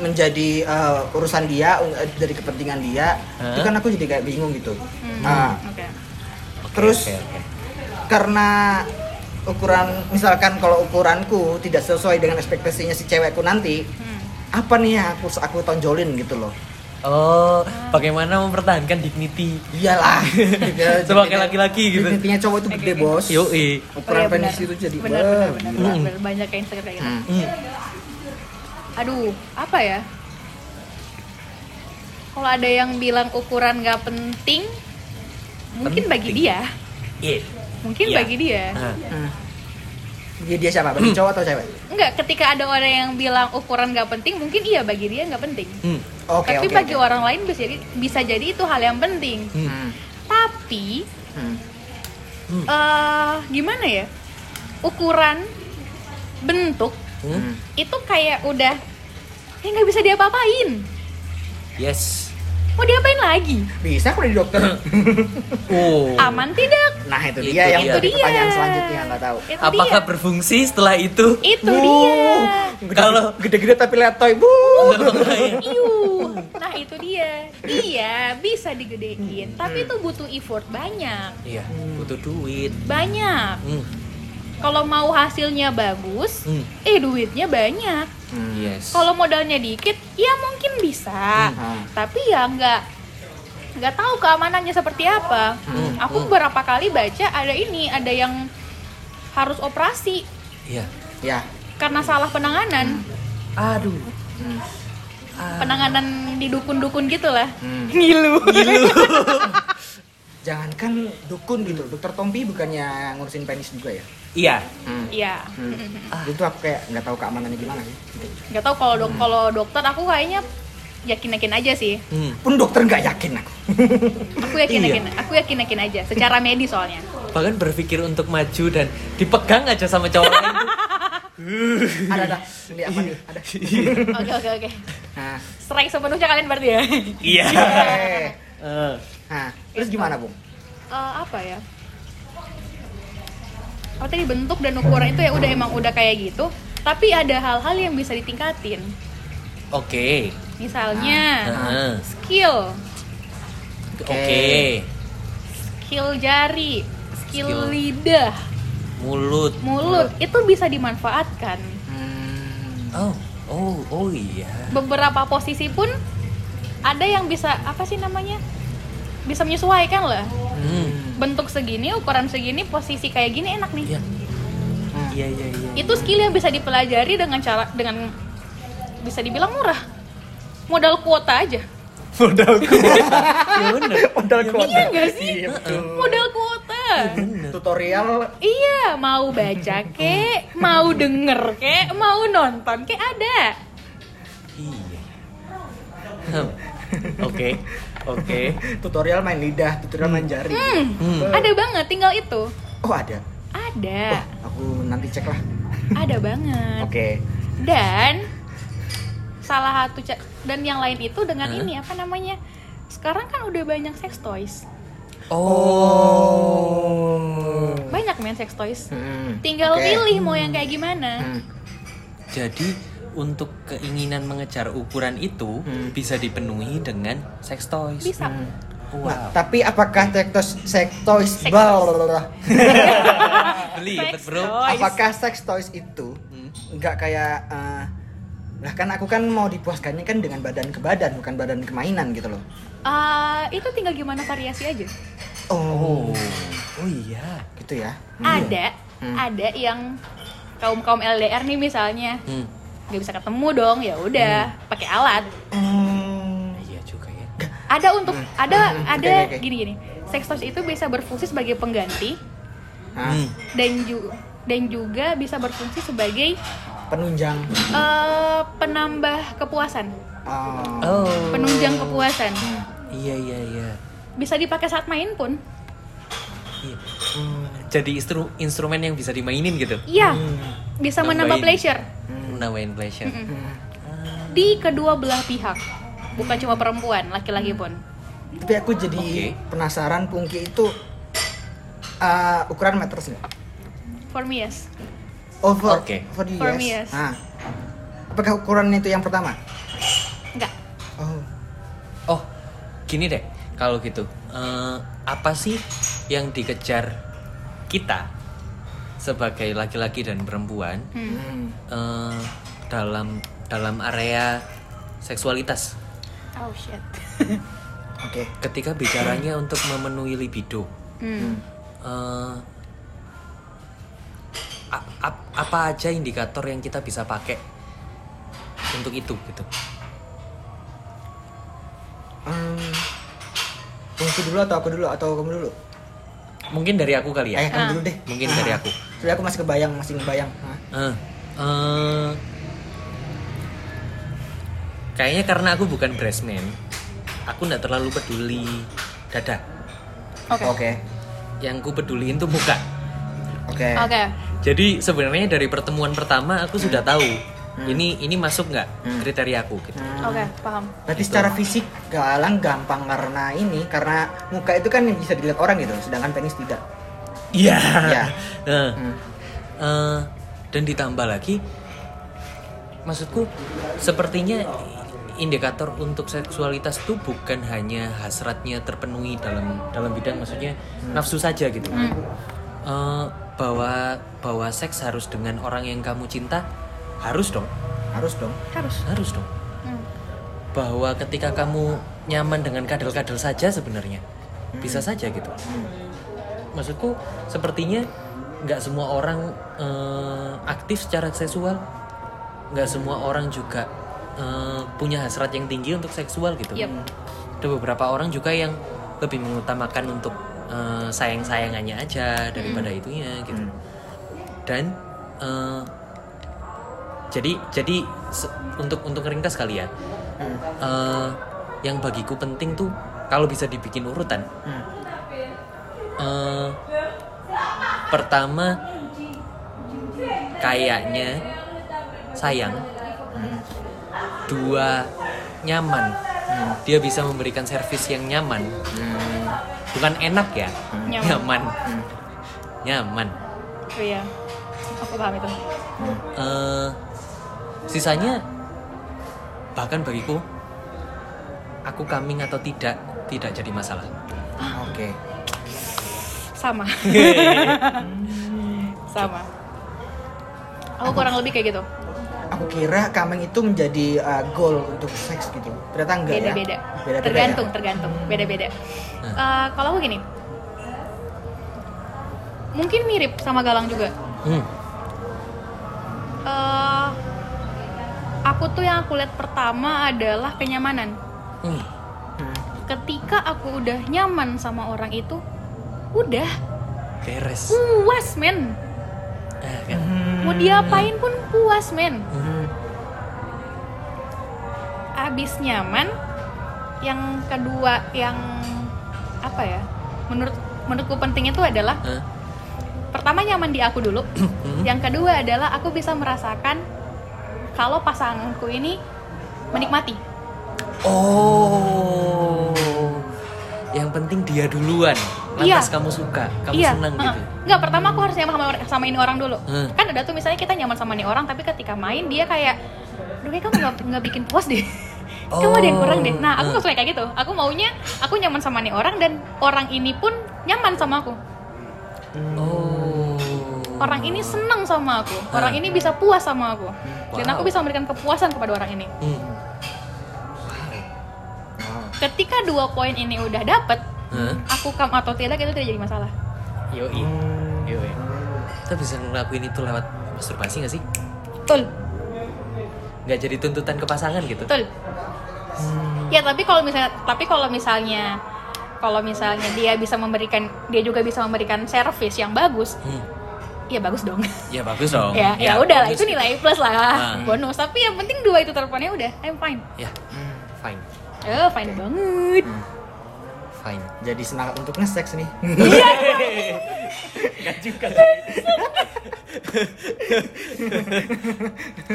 [SPEAKER 1] menjadi eh, urusan dia un- eh, dari kepentingan dia
[SPEAKER 2] Hah?
[SPEAKER 1] itu kan aku jadi kayak bingung gitu
[SPEAKER 3] Hmm.
[SPEAKER 1] nah
[SPEAKER 3] Oke.
[SPEAKER 2] Oke,
[SPEAKER 1] Terus-
[SPEAKER 2] oke, oke.
[SPEAKER 1] karena ukuran misalkan kalau ukuranku tidak sesuai dengan ekspektasinya si cewekku nanti
[SPEAKER 3] Hmm.
[SPEAKER 1] apa nih yang harus aku tonjolin gitu loh
[SPEAKER 2] Oh, bagaimana mempertahankan dignity?
[SPEAKER 1] iyalah
[SPEAKER 2] Sebagai laki-laki gitu.
[SPEAKER 1] intinya cowok itu gede bos
[SPEAKER 2] Yoi.
[SPEAKER 1] ukuran
[SPEAKER 3] Oh, iya,
[SPEAKER 1] penis
[SPEAKER 3] benar.
[SPEAKER 1] itu jadi
[SPEAKER 3] benar,
[SPEAKER 1] wah,
[SPEAKER 3] benar, benar,
[SPEAKER 1] gila.
[SPEAKER 3] benar, benar. banyak yang Instagram kayak gitu.
[SPEAKER 1] Hmm.
[SPEAKER 2] Hmm.
[SPEAKER 3] Aduh, apa ya? Kalau ada yang bilang ukuran nggak penting, mungkin bagi
[SPEAKER 2] Penting.
[SPEAKER 3] dia,
[SPEAKER 2] Iya.
[SPEAKER 3] mungkin
[SPEAKER 2] Iya.
[SPEAKER 3] bagi dia.
[SPEAKER 2] Ah.
[SPEAKER 1] Hmm. dia dia siapa
[SPEAKER 2] Hmm.
[SPEAKER 1] bagi cowok atau cewek
[SPEAKER 3] Enggak, ketika ada orang yang bilang ukuran nggak penting, mungkin iya bagi dia nggak penting.
[SPEAKER 2] Hmm.
[SPEAKER 1] oke
[SPEAKER 3] Tapi
[SPEAKER 1] oke,
[SPEAKER 3] bagi
[SPEAKER 1] oke.
[SPEAKER 3] orang lain bisa jadi, bisa jadi itu hal yang penting.
[SPEAKER 2] Hmm.
[SPEAKER 1] Hmm.
[SPEAKER 3] Tapi
[SPEAKER 1] Hmm.
[SPEAKER 2] Hmm.
[SPEAKER 3] eh gimana ya? Ukuran bentuk
[SPEAKER 2] Hmm.
[SPEAKER 1] Hmm.
[SPEAKER 3] itu kayak udah ya nggak bisa diapa-apain.
[SPEAKER 2] Yes.
[SPEAKER 3] Mau diapain lagi?
[SPEAKER 1] bisa aku jadi dokter
[SPEAKER 2] Oh.
[SPEAKER 3] Aman tidak?
[SPEAKER 1] nah itu
[SPEAKER 2] Hmm. Itu
[SPEAKER 1] dia yang
[SPEAKER 2] dia.
[SPEAKER 1] jadi
[SPEAKER 3] Itu dia.
[SPEAKER 1] pertanyaan selanjutnya nggak tahu
[SPEAKER 3] Itu
[SPEAKER 2] Apakah
[SPEAKER 3] dia.
[SPEAKER 2] berfungsi setelah itu?
[SPEAKER 3] Itu
[SPEAKER 1] Wuh,
[SPEAKER 3] dia.
[SPEAKER 1] gede-
[SPEAKER 2] Kalau-
[SPEAKER 1] gede-gede tapi letoy bu
[SPEAKER 3] Iu. Nah, itu dia. Iya, bisa digedein, tapi itu butuh effort banyak.
[SPEAKER 2] Iya, butuh duit.
[SPEAKER 3] Banyak.
[SPEAKER 2] Hmm.
[SPEAKER 3] Kalau mau hasilnya bagus,
[SPEAKER 2] Hmm.
[SPEAKER 3] eh duitnya banyak.
[SPEAKER 2] Yes.
[SPEAKER 3] Kalau modalnya dikit, ya mungkin bisa.
[SPEAKER 1] Hmm.
[SPEAKER 3] Tapi ya nggak nggak tahu keamanannya seperti apa.
[SPEAKER 2] Hmm.
[SPEAKER 3] Aku
[SPEAKER 2] Hmm.
[SPEAKER 3] berapa kali baca ada ini, ada yang harus operasi
[SPEAKER 2] Iya.
[SPEAKER 1] ya
[SPEAKER 3] karena salah penanganan.
[SPEAKER 2] Aduh. Ah.
[SPEAKER 1] Hmm.
[SPEAKER 3] Penanganan di dukun-dukun gitulah.
[SPEAKER 1] Hmm.
[SPEAKER 3] Ngilu.
[SPEAKER 1] jangankan dukun gitu dokter Tompi bukannya ngurusin penis juga ya
[SPEAKER 2] Iya.
[SPEAKER 1] Hmm.
[SPEAKER 3] Iya.
[SPEAKER 1] Hmm. itu aku kayak nggak tahu keamanannya gimana ya. gitu.
[SPEAKER 3] Nggak tahu kalau dok kalau dokter aku kayaknya yakin-yakin aja sih.
[SPEAKER 2] Hmm.
[SPEAKER 1] pun dokter nggak yakin aku
[SPEAKER 3] Aku yakin-yakin. Aku yakin-yakin aja secara medis soalnya.
[SPEAKER 2] Bahkan berpikir untuk maju dan dipegang aja sama cowok lain.
[SPEAKER 1] ada ada ini apa nih ada
[SPEAKER 3] Oke, oke, oke.
[SPEAKER 1] nah
[SPEAKER 3] Strike sepenuhnya kalian berarti ya.
[SPEAKER 2] Iya.
[SPEAKER 1] eh.
[SPEAKER 2] Eh,
[SPEAKER 1] nah terus gimana bung
[SPEAKER 3] Eh, apa ya? Kalau tadi bentuk dan ukuran itu ya udah emang udah kayak gitu, tapi ada hal-hal yang bisa ditingkatin.
[SPEAKER 2] Oke.
[SPEAKER 3] Misalnya
[SPEAKER 2] Heeh.
[SPEAKER 3] skill,
[SPEAKER 2] Oke.
[SPEAKER 3] skill jari, skill,
[SPEAKER 2] Skill.
[SPEAKER 3] lidah,
[SPEAKER 2] Mulut.
[SPEAKER 3] mulut itu bisa dimanfaatkan.
[SPEAKER 1] Hmm.
[SPEAKER 2] Oh, oh, oh iya.
[SPEAKER 3] Beberapa posisi pun ada yang bisa apa sih namanya? Bisa menyesuaikan lah.
[SPEAKER 2] Hmm.
[SPEAKER 3] Bentuk segini, ukuran segini, posisi kayak gini enak nih.
[SPEAKER 2] Iya. Iya, iya, iya.
[SPEAKER 3] itu skill yang bisa dipelajari dengan cara dengan bisa dibilang murah modal kuota aja
[SPEAKER 2] Modal Iya bener.
[SPEAKER 1] modal kuota
[SPEAKER 3] iya nggak sih?
[SPEAKER 1] Iya, betul.
[SPEAKER 3] modal kuota
[SPEAKER 1] tutorial
[SPEAKER 3] iya mau baca kek mau denger kek mau nonton kek ada
[SPEAKER 2] Iya. Hmm. Oke. Oke.
[SPEAKER 1] tutorial main lidah tutorial main jari
[SPEAKER 3] Hmm, ada banget tinggal itu
[SPEAKER 1] oh ada Oh,
[SPEAKER 3] ada
[SPEAKER 1] aku nanti cek lah
[SPEAKER 3] ada banget
[SPEAKER 1] oke
[SPEAKER 3] dan salah satu ca- dan yang lain itu dengan
[SPEAKER 2] Hah?
[SPEAKER 3] ini apa namanya sekarang kan udah banyak sex toys
[SPEAKER 1] Oh.
[SPEAKER 3] Banyak men sex toys.
[SPEAKER 1] Hmm.
[SPEAKER 3] Tinggal
[SPEAKER 1] Oke.
[SPEAKER 3] pilih mau yang kayak gimana.
[SPEAKER 1] Hmm.
[SPEAKER 2] Jadi untuk keinginan mengejar ukuran itu bisa dipenuhi dengan sex toys.
[SPEAKER 3] Bisa.
[SPEAKER 1] Nah,
[SPEAKER 2] Wow.
[SPEAKER 1] tapi apakah sektos sektois
[SPEAKER 3] Sex
[SPEAKER 1] bal
[SPEAKER 3] Sex
[SPEAKER 2] Belibet ya, bro.
[SPEAKER 3] toy. Toys.
[SPEAKER 1] apakah sex toys itu
[SPEAKER 2] Hmm.
[SPEAKER 1] nggak kayak eh, lah kan aku kan mau dipuaskannya kan dengan badan ke badan bukan badan ke mainan gitu loh
[SPEAKER 3] Ah, itu tinggal gimana variasi aja.
[SPEAKER 1] oh,
[SPEAKER 2] Oh. Oh iya.
[SPEAKER 1] gitu ya
[SPEAKER 3] Ada,
[SPEAKER 1] Hmm.
[SPEAKER 3] ada yang kaum kaum LDR nih misalnya
[SPEAKER 2] Hmm.
[SPEAKER 3] nggak bisa ketemu dong, ya udah pakai alat.
[SPEAKER 1] Hmm.
[SPEAKER 2] Nah, iya juga ya.
[SPEAKER 3] Ada untuk ada
[SPEAKER 1] Hmm,
[SPEAKER 3] ada
[SPEAKER 1] oke, oke, oke.
[SPEAKER 3] gini gini. Sex toys itu bisa berfungsi sebagai pengganti
[SPEAKER 1] Hah?
[SPEAKER 2] Hmm.
[SPEAKER 3] dan ju- dan juga bisa berfungsi sebagai
[SPEAKER 1] penunjang
[SPEAKER 3] eh, penambah kepuasan,
[SPEAKER 1] Oh.
[SPEAKER 2] Oh.
[SPEAKER 3] penunjang kepuasan.
[SPEAKER 2] Iya iya iya.
[SPEAKER 3] Bisa dipakai saat main pun.
[SPEAKER 2] Iya. Jadi instru- instrumen yang bisa dimainin gitu.
[SPEAKER 3] Iya. Bisa menambah
[SPEAKER 2] Nambahin.
[SPEAKER 3] pleasure
[SPEAKER 2] Menawain pleasure.
[SPEAKER 1] hmm.
[SPEAKER 3] di kedua belah pihak. Bukan cuma perempuan, laki-laki pun.
[SPEAKER 1] tapi aku jadi
[SPEAKER 2] Oke.
[SPEAKER 1] penasaran pungki itu eh, ukuran meters nggak
[SPEAKER 3] For me yes.
[SPEAKER 1] oh for,
[SPEAKER 2] Oke.
[SPEAKER 1] for the
[SPEAKER 3] For
[SPEAKER 1] US.
[SPEAKER 3] me, yes.
[SPEAKER 1] Nah, apakah ukuran itu yang pertama
[SPEAKER 3] Enggak.
[SPEAKER 1] oh
[SPEAKER 2] Oh, gini deh. Kalau gitu, Eh, apa sih yang dikejar kita sebagai laki-laki dan perempuan
[SPEAKER 3] Hmm.
[SPEAKER 1] Hmm.
[SPEAKER 2] eh, dalam dalam area seksualitas?
[SPEAKER 3] Oh shit.
[SPEAKER 1] oke
[SPEAKER 2] Ketika bicaranya untuk memenuhi libido,
[SPEAKER 3] Hmm.
[SPEAKER 2] eh, a- a- apa aja indikator yang kita bisa pakai untuk itu gitu?
[SPEAKER 1] Hmm. Pungki dulu atau aku dulu atau kamu dulu
[SPEAKER 2] Mungkin dari aku kali ya.
[SPEAKER 1] Eh, kamu
[SPEAKER 3] Ah.
[SPEAKER 1] dulu deh.
[SPEAKER 2] Mungkin
[SPEAKER 1] Ah.
[SPEAKER 2] dari aku.
[SPEAKER 1] Soalnya aku masih kebayang, masih ngebayang. Ah.
[SPEAKER 2] Eh, eh, kayaknya karena aku bukan breastman, aku nggak terlalu peduli dada.
[SPEAKER 3] Oke. Oke.
[SPEAKER 1] Oke.
[SPEAKER 2] Yang ku peduliin tuh muka.
[SPEAKER 1] Oke.
[SPEAKER 2] Jadi sebenarnya dari pertemuan pertama aku sudah tahu ini ini masuk nggak kriteria aku gitu.
[SPEAKER 1] Hmm.
[SPEAKER 3] Oke, paham.
[SPEAKER 1] Nah, Berarti secara fisik galang gampang karena ini karena muka itu kan yang bisa dilihat orang gitu, sedangkan penis tidak.
[SPEAKER 2] Iya.
[SPEAKER 1] Iya.
[SPEAKER 2] Eh,
[SPEAKER 1] Hmm.
[SPEAKER 2] eh, dan ditambah lagi, maksudku sepertinya indikator untuk seksualitas itu bukan hanya hasratnya terpenuhi dalam dalam bidang maksudnya nafsu saja gitu. Eh, bahwa bahwa seks harus dengan orang yang kamu cinta harus dong,
[SPEAKER 1] Harus dong.
[SPEAKER 3] Harus.
[SPEAKER 2] harus dong.
[SPEAKER 3] Hmm.
[SPEAKER 2] Bahwa ketika kamu nyaman dengan kadal-kadal saja sebenarnya
[SPEAKER 3] Hmm.
[SPEAKER 2] bisa saja gitu maksudku sepertinya nggak semua orang eh, aktif secara seksual nggak semua orang juga eh, punya hasrat yang tinggi untuk seksual gitu
[SPEAKER 3] Yep.
[SPEAKER 2] ada beberapa orang juga yang lebih mengutamakan untuk eh, sayang-sayangannya aja daripada itunya gitu dan eh, jadi jadi se- untuk untuk ringkas kali ya eh, yang bagiku penting tuh kalau bisa dibikin urutan
[SPEAKER 1] Hmm.
[SPEAKER 2] Eh, pertama kayaknya sayang dua nyaman dia bisa memberikan servis yang nyaman bukan enak ya
[SPEAKER 3] Nyaman.
[SPEAKER 2] nyaman nyaman
[SPEAKER 3] Oh, iya. Aku paham itu.
[SPEAKER 2] Eh, sisanya bahkan bagiku aku coming atau tidak tidak jadi masalah
[SPEAKER 3] Ah.
[SPEAKER 1] Oke.
[SPEAKER 3] Sama. Sama. Aku kurang lebih kayak gitu.
[SPEAKER 1] Aku kira coming itu menjadi uh, goal untuk seks gitu. Ternyata enggak ya. Nah.
[SPEAKER 3] Beda-beda.
[SPEAKER 1] Beda-beda
[SPEAKER 3] Tergantung,
[SPEAKER 1] ya?
[SPEAKER 3] tergantung. Beda-beda.
[SPEAKER 2] Hmm.
[SPEAKER 3] Eh, kalau aku gini. Mungkin mirip sama Galang juga.
[SPEAKER 2] Hmm.
[SPEAKER 3] Eh, aku tuh yang aku lihat pertama adalah kenyamanan.
[SPEAKER 2] Hmm.
[SPEAKER 1] Hmm.
[SPEAKER 3] Ketika aku udah nyaman sama orang itu, udah
[SPEAKER 2] beres
[SPEAKER 3] puas men.
[SPEAKER 2] Ah, kan?
[SPEAKER 3] Mau diapain pun puas men.
[SPEAKER 1] Hmm.
[SPEAKER 3] Abis nyaman, yang kedua yang apa ya? Menurut menurutku penting itu adalah
[SPEAKER 2] Hah?
[SPEAKER 3] pertama nyaman di aku dulu yang kedua adalah aku bisa merasakan kalau pasanganku ini menikmati
[SPEAKER 2] Oh, yang yang penting dia duluan lantas
[SPEAKER 3] Iya.
[SPEAKER 2] kamu suka kamu senang
[SPEAKER 3] heeh.
[SPEAKER 2] gitu
[SPEAKER 3] Nggak, pertama aku harus nyaman sama, or- sama ini orang dulu.
[SPEAKER 2] Hmm.
[SPEAKER 3] Kan ada tuh misalnya kita nyaman sama ini orang, tapi ketika main dia kayak, aduh kayak kamu nggak nggak bikin puas deh. kamu ada yang
[SPEAKER 2] Oh,
[SPEAKER 3] kurang deh. Nah, aku
[SPEAKER 2] hmm.
[SPEAKER 3] nggak suka kayak gitu. Aku maunya aku nyaman sama ini orang dan orang ini pun nyaman sama aku.
[SPEAKER 2] oh
[SPEAKER 3] Orang ini senang sama aku. Orang
[SPEAKER 2] Hmm.
[SPEAKER 3] ini bisa puas sama aku. Dan
[SPEAKER 2] Wow.
[SPEAKER 3] aku bisa memberikan kepuasan kepada orang ini.
[SPEAKER 2] Hmm.
[SPEAKER 1] Hmm.
[SPEAKER 3] Ketika dua poin ini udah dapet,
[SPEAKER 2] Hah?
[SPEAKER 3] aku kam atau tidak itu tidak jadi masalah.
[SPEAKER 2] yoi yoi kita bisa ngelakuin itu lewat masturbasi gak sih
[SPEAKER 3] Betul.
[SPEAKER 2] nggak jadi tuntutan ke pasangan gitu
[SPEAKER 3] Betul. Ya tapi kalau misalnya tapi kalau misalnya kalau misalnya dia bisa memberikan dia juga bisa memberikan service yang bagus,
[SPEAKER 2] Hmm.
[SPEAKER 3] ya bagus dong.
[SPEAKER 2] ya bagus dong
[SPEAKER 3] ya ya udah lah
[SPEAKER 2] bagus.
[SPEAKER 3] itu nilai plus lah
[SPEAKER 2] Ah.
[SPEAKER 3] bonus. Tapi yang penting dua itu teleponnya udah I'm fine.
[SPEAKER 2] ya fine
[SPEAKER 3] Eh fine banget.
[SPEAKER 2] fine
[SPEAKER 1] Jadi semangat untuk nge-sex nih.
[SPEAKER 2] Gak juga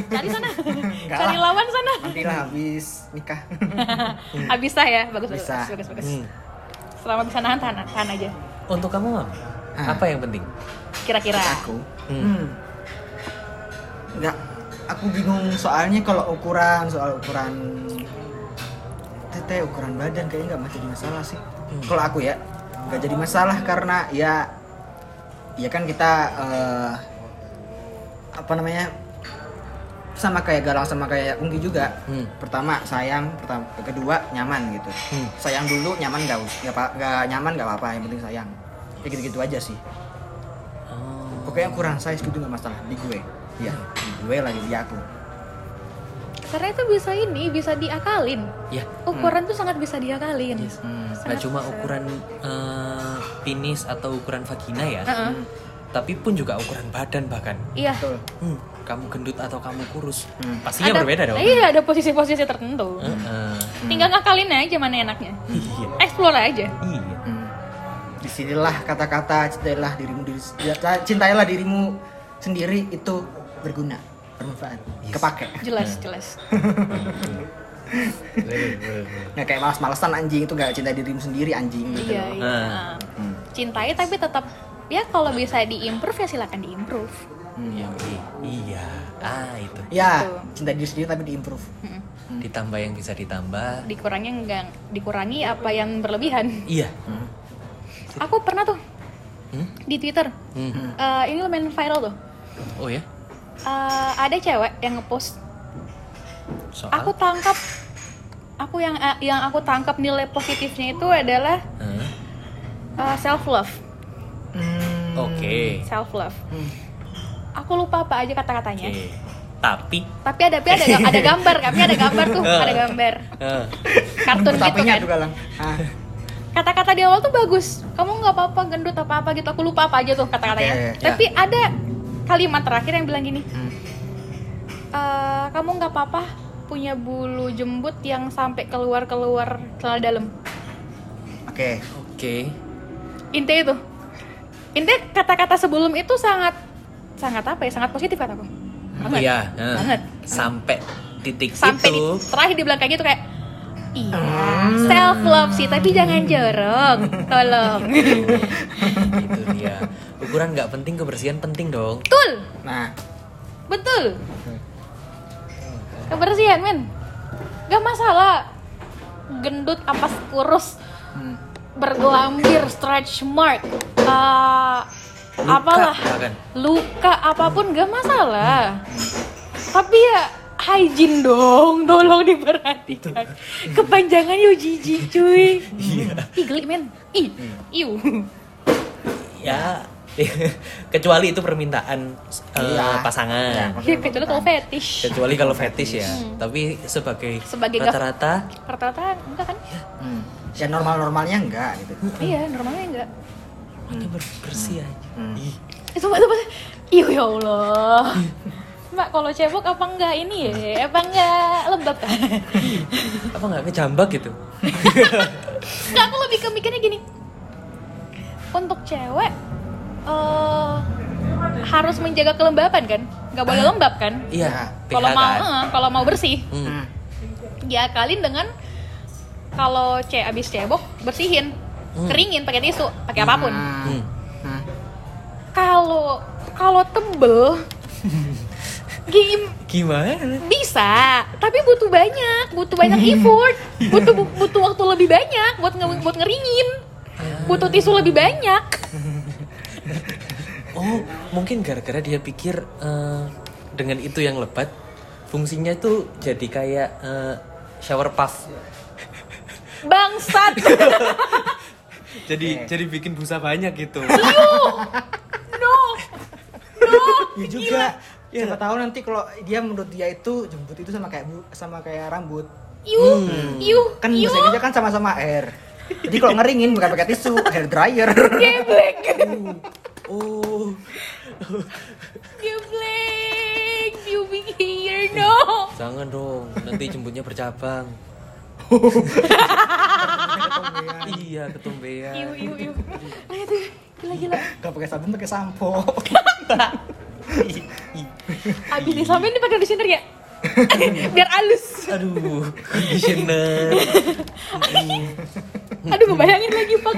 [SPEAKER 3] Cari sana.
[SPEAKER 1] Enggak
[SPEAKER 3] Cari
[SPEAKER 1] lah.
[SPEAKER 3] lawan sana.
[SPEAKER 1] Nanti lah habis nikah.
[SPEAKER 3] Habis sah ya bagus bagus
[SPEAKER 1] Bisa.
[SPEAKER 3] bagus bagus. Selama bisa nahan tahan, tahan aja.
[SPEAKER 2] Hmm. untuk kamu mam
[SPEAKER 1] Ah.
[SPEAKER 2] apa yang penting
[SPEAKER 3] Kira-kira.
[SPEAKER 1] Aku.
[SPEAKER 2] Hmm.
[SPEAKER 1] Hmm. Enggak. Aku bingung soalnya kalau ukuran soal ukuran tete ukuran badan kayaknya nggak masih jadi masalah sih.
[SPEAKER 2] Hmm.
[SPEAKER 1] Kalau aku ya nggak jadi masalah karena ya ya kan kita eh, apa namanya sama kayak galang sama kayak unggi juga
[SPEAKER 2] Hmm.
[SPEAKER 1] pertama sayang pertama kedua nyaman gitu
[SPEAKER 2] Hmm.
[SPEAKER 1] sayang dulu nyaman nggak us- nggak apa- nggak nyaman nggak apa-apa yang penting sayang ya gitu-gitu aja sih
[SPEAKER 2] Oh.
[SPEAKER 1] pokoknya kurang size gitu nggak masalah di gue ya di gue lagi di aku
[SPEAKER 3] Karena itu bisa ini bisa diakalin.
[SPEAKER 2] ya
[SPEAKER 3] Ukuran tuh sangat bisa diakalin.
[SPEAKER 2] yes.
[SPEAKER 1] Hmm.
[SPEAKER 2] Nggak
[SPEAKER 3] Sangat
[SPEAKER 2] cuma
[SPEAKER 3] bisa.
[SPEAKER 2] ukuran eh, penis atau ukuran vagina ya
[SPEAKER 3] Heeh.
[SPEAKER 2] tapi pun juga ukuran badan bahkan
[SPEAKER 3] Iya.
[SPEAKER 1] betul
[SPEAKER 2] Hmm, kamu gendut atau kamu kurus
[SPEAKER 1] Hmm.
[SPEAKER 2] pastinya berbeda dong
[SPEAKER 3] Iya, ada posisi-posisi tertentu.
[SPEAKER 2] Eh, eh.
[SPEAKER 3] Tinggal ngakalin aja mana enaknya.
[SPEAKER 2] iya
[SPEAKER 3] Explore aja.
[SPEAKER 2] iya
[SPEAKER 1] hmm. disinilah kata-kata cintailah dirimu diri ya, cintailah dirimu sendiri itu berguna bermanfaat kepake
[SPEAKER 2] Ah.
[SPEAKER 3] Jelas, jelas.
[SPEAKER 2] Iya.
[SPEAKER 1] nggak kayak malas-malasan anjing itu nggak cinta dirimu sendiri anjing gitu
[SPEAKER 3] Iya,
[SPEAKER 1] loh.
[SPEAKER 3] iya.
[SPEAKER 2] Ah.
[SPEAKER 1] Hmm.
[SPEAKER 3] Cintai tapi tetap ya kalau bisa diimprove ya silakan diimprove.
[SPEAKER 1] Hmm.
[SPEAKER 2] Iya, iya. iya ah itu
[SPEAKER 1] ya
[SPEAKER 3] Betul.
[SPEAKER 1] cinta diri sendiri tapi diimprove
[SPEAKER 3] Mm-mm.
[SPEAKER 1] Hmm.
[SPEAKER 2] ditambah yang bisa ditambah
[SPEAKER 3] Dikurangi enggak dikurangi apa yang berlebihan.
[SPEAKER 2] iya
[SPEAKER 1] Hmm.
[SPEAKER 3] Aku pernah tuh
[SPEAKER 2] Hmm?
[SPEAKER 3] di Twitter.
[SPEAKER 2] Hmm.
[SPEAKER 3] eh, ini lumayan viral tuh.
[SPEAKER 2] oh ya
[SPEAKER 3] Eh, ada cewek yang ngepost
[SPEAKER 2] soal
[SPEAKER 3] aku tangkap aku yang eh, yang aku tangkap nilai positifnya itu adalah eh,
[SPEAKER 2] Eh,
[SPEAKER 3] self love,
[SPEAKER 1] Hmm.
[SPEAKER 2] oke
[SPEAKER 3] self love.
[SPEAKER 1] Hmm.
[SPEAKER 3] Aku lupa apa aja kata-katanya.
[SPEAKER 2] Oke. tapi
[SPEAKER 3] tapi ada tapi ada ada gambar kami ada gambar tuh ada gambar
[SPEAKER 2] eh,
[SPEAKER 3] kartun gitu
[SPEAKER 1] Tapinya
[SPEAKER 3] kan
[SPEAKER 1] juga lang ah,
[SPEAKER 3] kata-kata di awal tuh bagus kamu nggak apa-apa gendut apa apa gitu aku lupa apa aja tuh kata-katanya
[SPEAKER 1] Oke,
[SPEAKER 2] ya.
[SPEAKER 3] tapi ada kalimat terakhir yang bilang gini
[SPEAKER 1] Hmm.
[SPEAKER 3] "Eh, kamu nggak apa-apa punya bulu jembut yang sampai keluar keluar celana dalam
[SPEAKER 1] oke
[SPEAKER 2] oke
[SPEAKER 3] inte itu inte kata-kata sebelum itu sangat sangat apa ya sangat positif kataku Banget.
[SPEAKER 2] iya eh.
[SPEAKER 3] Banget.
[SPEAKER 2] sampai titik
[SPEAKER 3] sampai di,
[SPEAKER 2] itu
[SPEAKER 3] terakhir dibilang kayak gitu kayak iya self love sih tapi jangan jorok tolong
[SPEAKER 2] itu Gitu dia ukuran nggak penting kebersihan penting dong
[SPEAKER 3] betul
[SPEAKER 1] nah
[SPEAKER 3] betul kebersihan men gak masalah gendut apa kurus
[SPEAKER 1] hmm.
[SPEAKER 3] bergelambir stretch mark eh,
[SPEAKER 2] Luka,
[SPEAKER 3] apalah
[SPEAKER 2] bahkan.
[SPEAKER 3] luka apapun gak masalah tapi ya hygiene dong tolong diperhatikan kepanjangan yo jijik cuy ih geli men ih iu
[SPEAKER 2] ya kecuali itu permintaan eh,
[SPEAKER 1] Iya.
[SPEAKER 2] pasangan
[SPEAKER 1] Iya.
[SPEAKER 3] ya kecuali kalau fetish
[SPEAKER 2] kecuali kalau fetish ya tapi sebagai,
[SPEAKER 3] Hmm. Sebagai Hmm. gaf-
[SPEAKER 2] rata-rata
[SPEAKER 3] rata-rata enggak kan
[SPEAKER 1] Hmm. ya normal-normalnya enggak gitu
[SPEAKER 2] Hmm.
[SPEAKER 3] iya normalnya enggak
[SPEAKER 2] hanya bersih aja Ih,
[SPEAKER 3] Eh, sumpah sumpah iu ya Allah Mbak, kalau cebok apa enggak ini ya? Apa enggak lembab kan?
[SPEAKER 2] apa nggak kejambak gitu
[SPEAKER 3] Enggak, aku lebih ke mikirnya gini. Untuk cewek eh, harus menjaga kelembapan kan? Nggak boleh lembab kan?
[SPEAKER 2] iya PH
[SPEAKER 3] Kalau mau
[SPEAKER 2] kan?
[SPEAKER 3] eh, kalau mau bersih,
[SPEAKER 2] Hmm.
[SPEAKER 1] Hmm.
[SPEAKER 3] diakalin dengan kalau ce abis cebok bersihin. keringin pakai tisu pakai apapun
[SPEAKER 1] Nah,
[SPEAKER 2] Hmm.
[SPEAKER 1] nah.
[SPEAKER 3] kalau kalau tebel gigi m-
[SPEAKER 2] Gimana?
[SPEAKER 3] bisa tapi butuh banyak butuh banyak effort butuh bu- butuh waktu lebih banyak buat nge- buat ngeringin butuh tisu lebih banyak
[SPEAKER 2] Oh, mungkin gara-gara dia pikir eh, dengan itu yang lebat, fungsinya itu jadi kayak eh, shower puff.
[SPEAKER 3] bangsat
[SPEAKER 2] Jadi jadi bikin busa banyak gitu.
[SPEAKER 3] no no
[SPEAKER 2] Iya
[SPEAKER 1] Ya juga. Siapa tahu nanti kalau dia menurut dia itu jembut itu sama kayak bu- sama kayak rambut.
[SPEAKER 3] you you
[SPEAKER 1] Kan
[SPEAKER 3] you
[SPEAKER 1] bahasa Indonesia kan sama-sama air. Jadi kalau ngeringin bukan pakai tisu, hair dryer.
[SPEAKER 3] geblek
[SPEAKER 2] oh.
[SPEAKER 3] geblek you big here no
[SPEAKER 2] Jangan dong, nanti jembutnya bercabang. iya,
[SPEAKER 3] you
[SPEAKER 2] ketombean.
[SPEAKER 3] you you Ayo tuh, gila gila
[SPEAKER 1] Gak pakai sabun pakai sampo.
[SPEAKER 3] abis disampein dipakai conditioner ya biar halus
[SPEAKER 2] Aduh, conditioner.
[SPEAKER 3] aduh ngebayangin lagi pak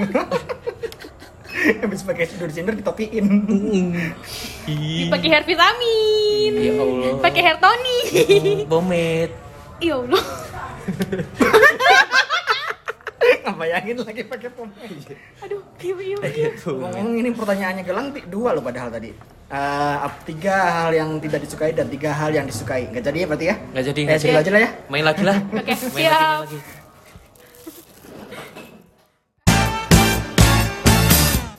[SPEAKER 1] Habis pakai tidur cinder ditopiin.
[SPEAKER 3] pakai hair vitamin
[SPEAKER 2] Ya Allah.
[SPEAKER 3] pakai hair tonic
[SPEAKER 2] Bomet.
[SPEAKER 3] ya allah
[SPEAKER 1] Ngebayangin lagi pakai pomade.
[SPEAKER 3] aduh iya, iu iu iu
[SPEAKER 1] Ngomong ini pertanyaannya gelang ti- dua loh padahal tadi. Eh, ap- tiga hal yang tidak disukai dan tiga hal yang disukai. Gak jadi ya berarti ya?
[SPEAKER 2] Nggak jadi,
[SPEAKER 1] Eh,
[SPEAKER 2] nggak
[SPEAKER 1] segitu
[SPEAKER 2] jadi.
[SPEAKER 1] aja lah ya.
[SPEAKER 2] Main lagi lah.
[SPEAKER 3] Oke,
[SPEAKER 2] Main lagi, main
[SPEAKER 3] siap.
[SPEAKER 2] lagi.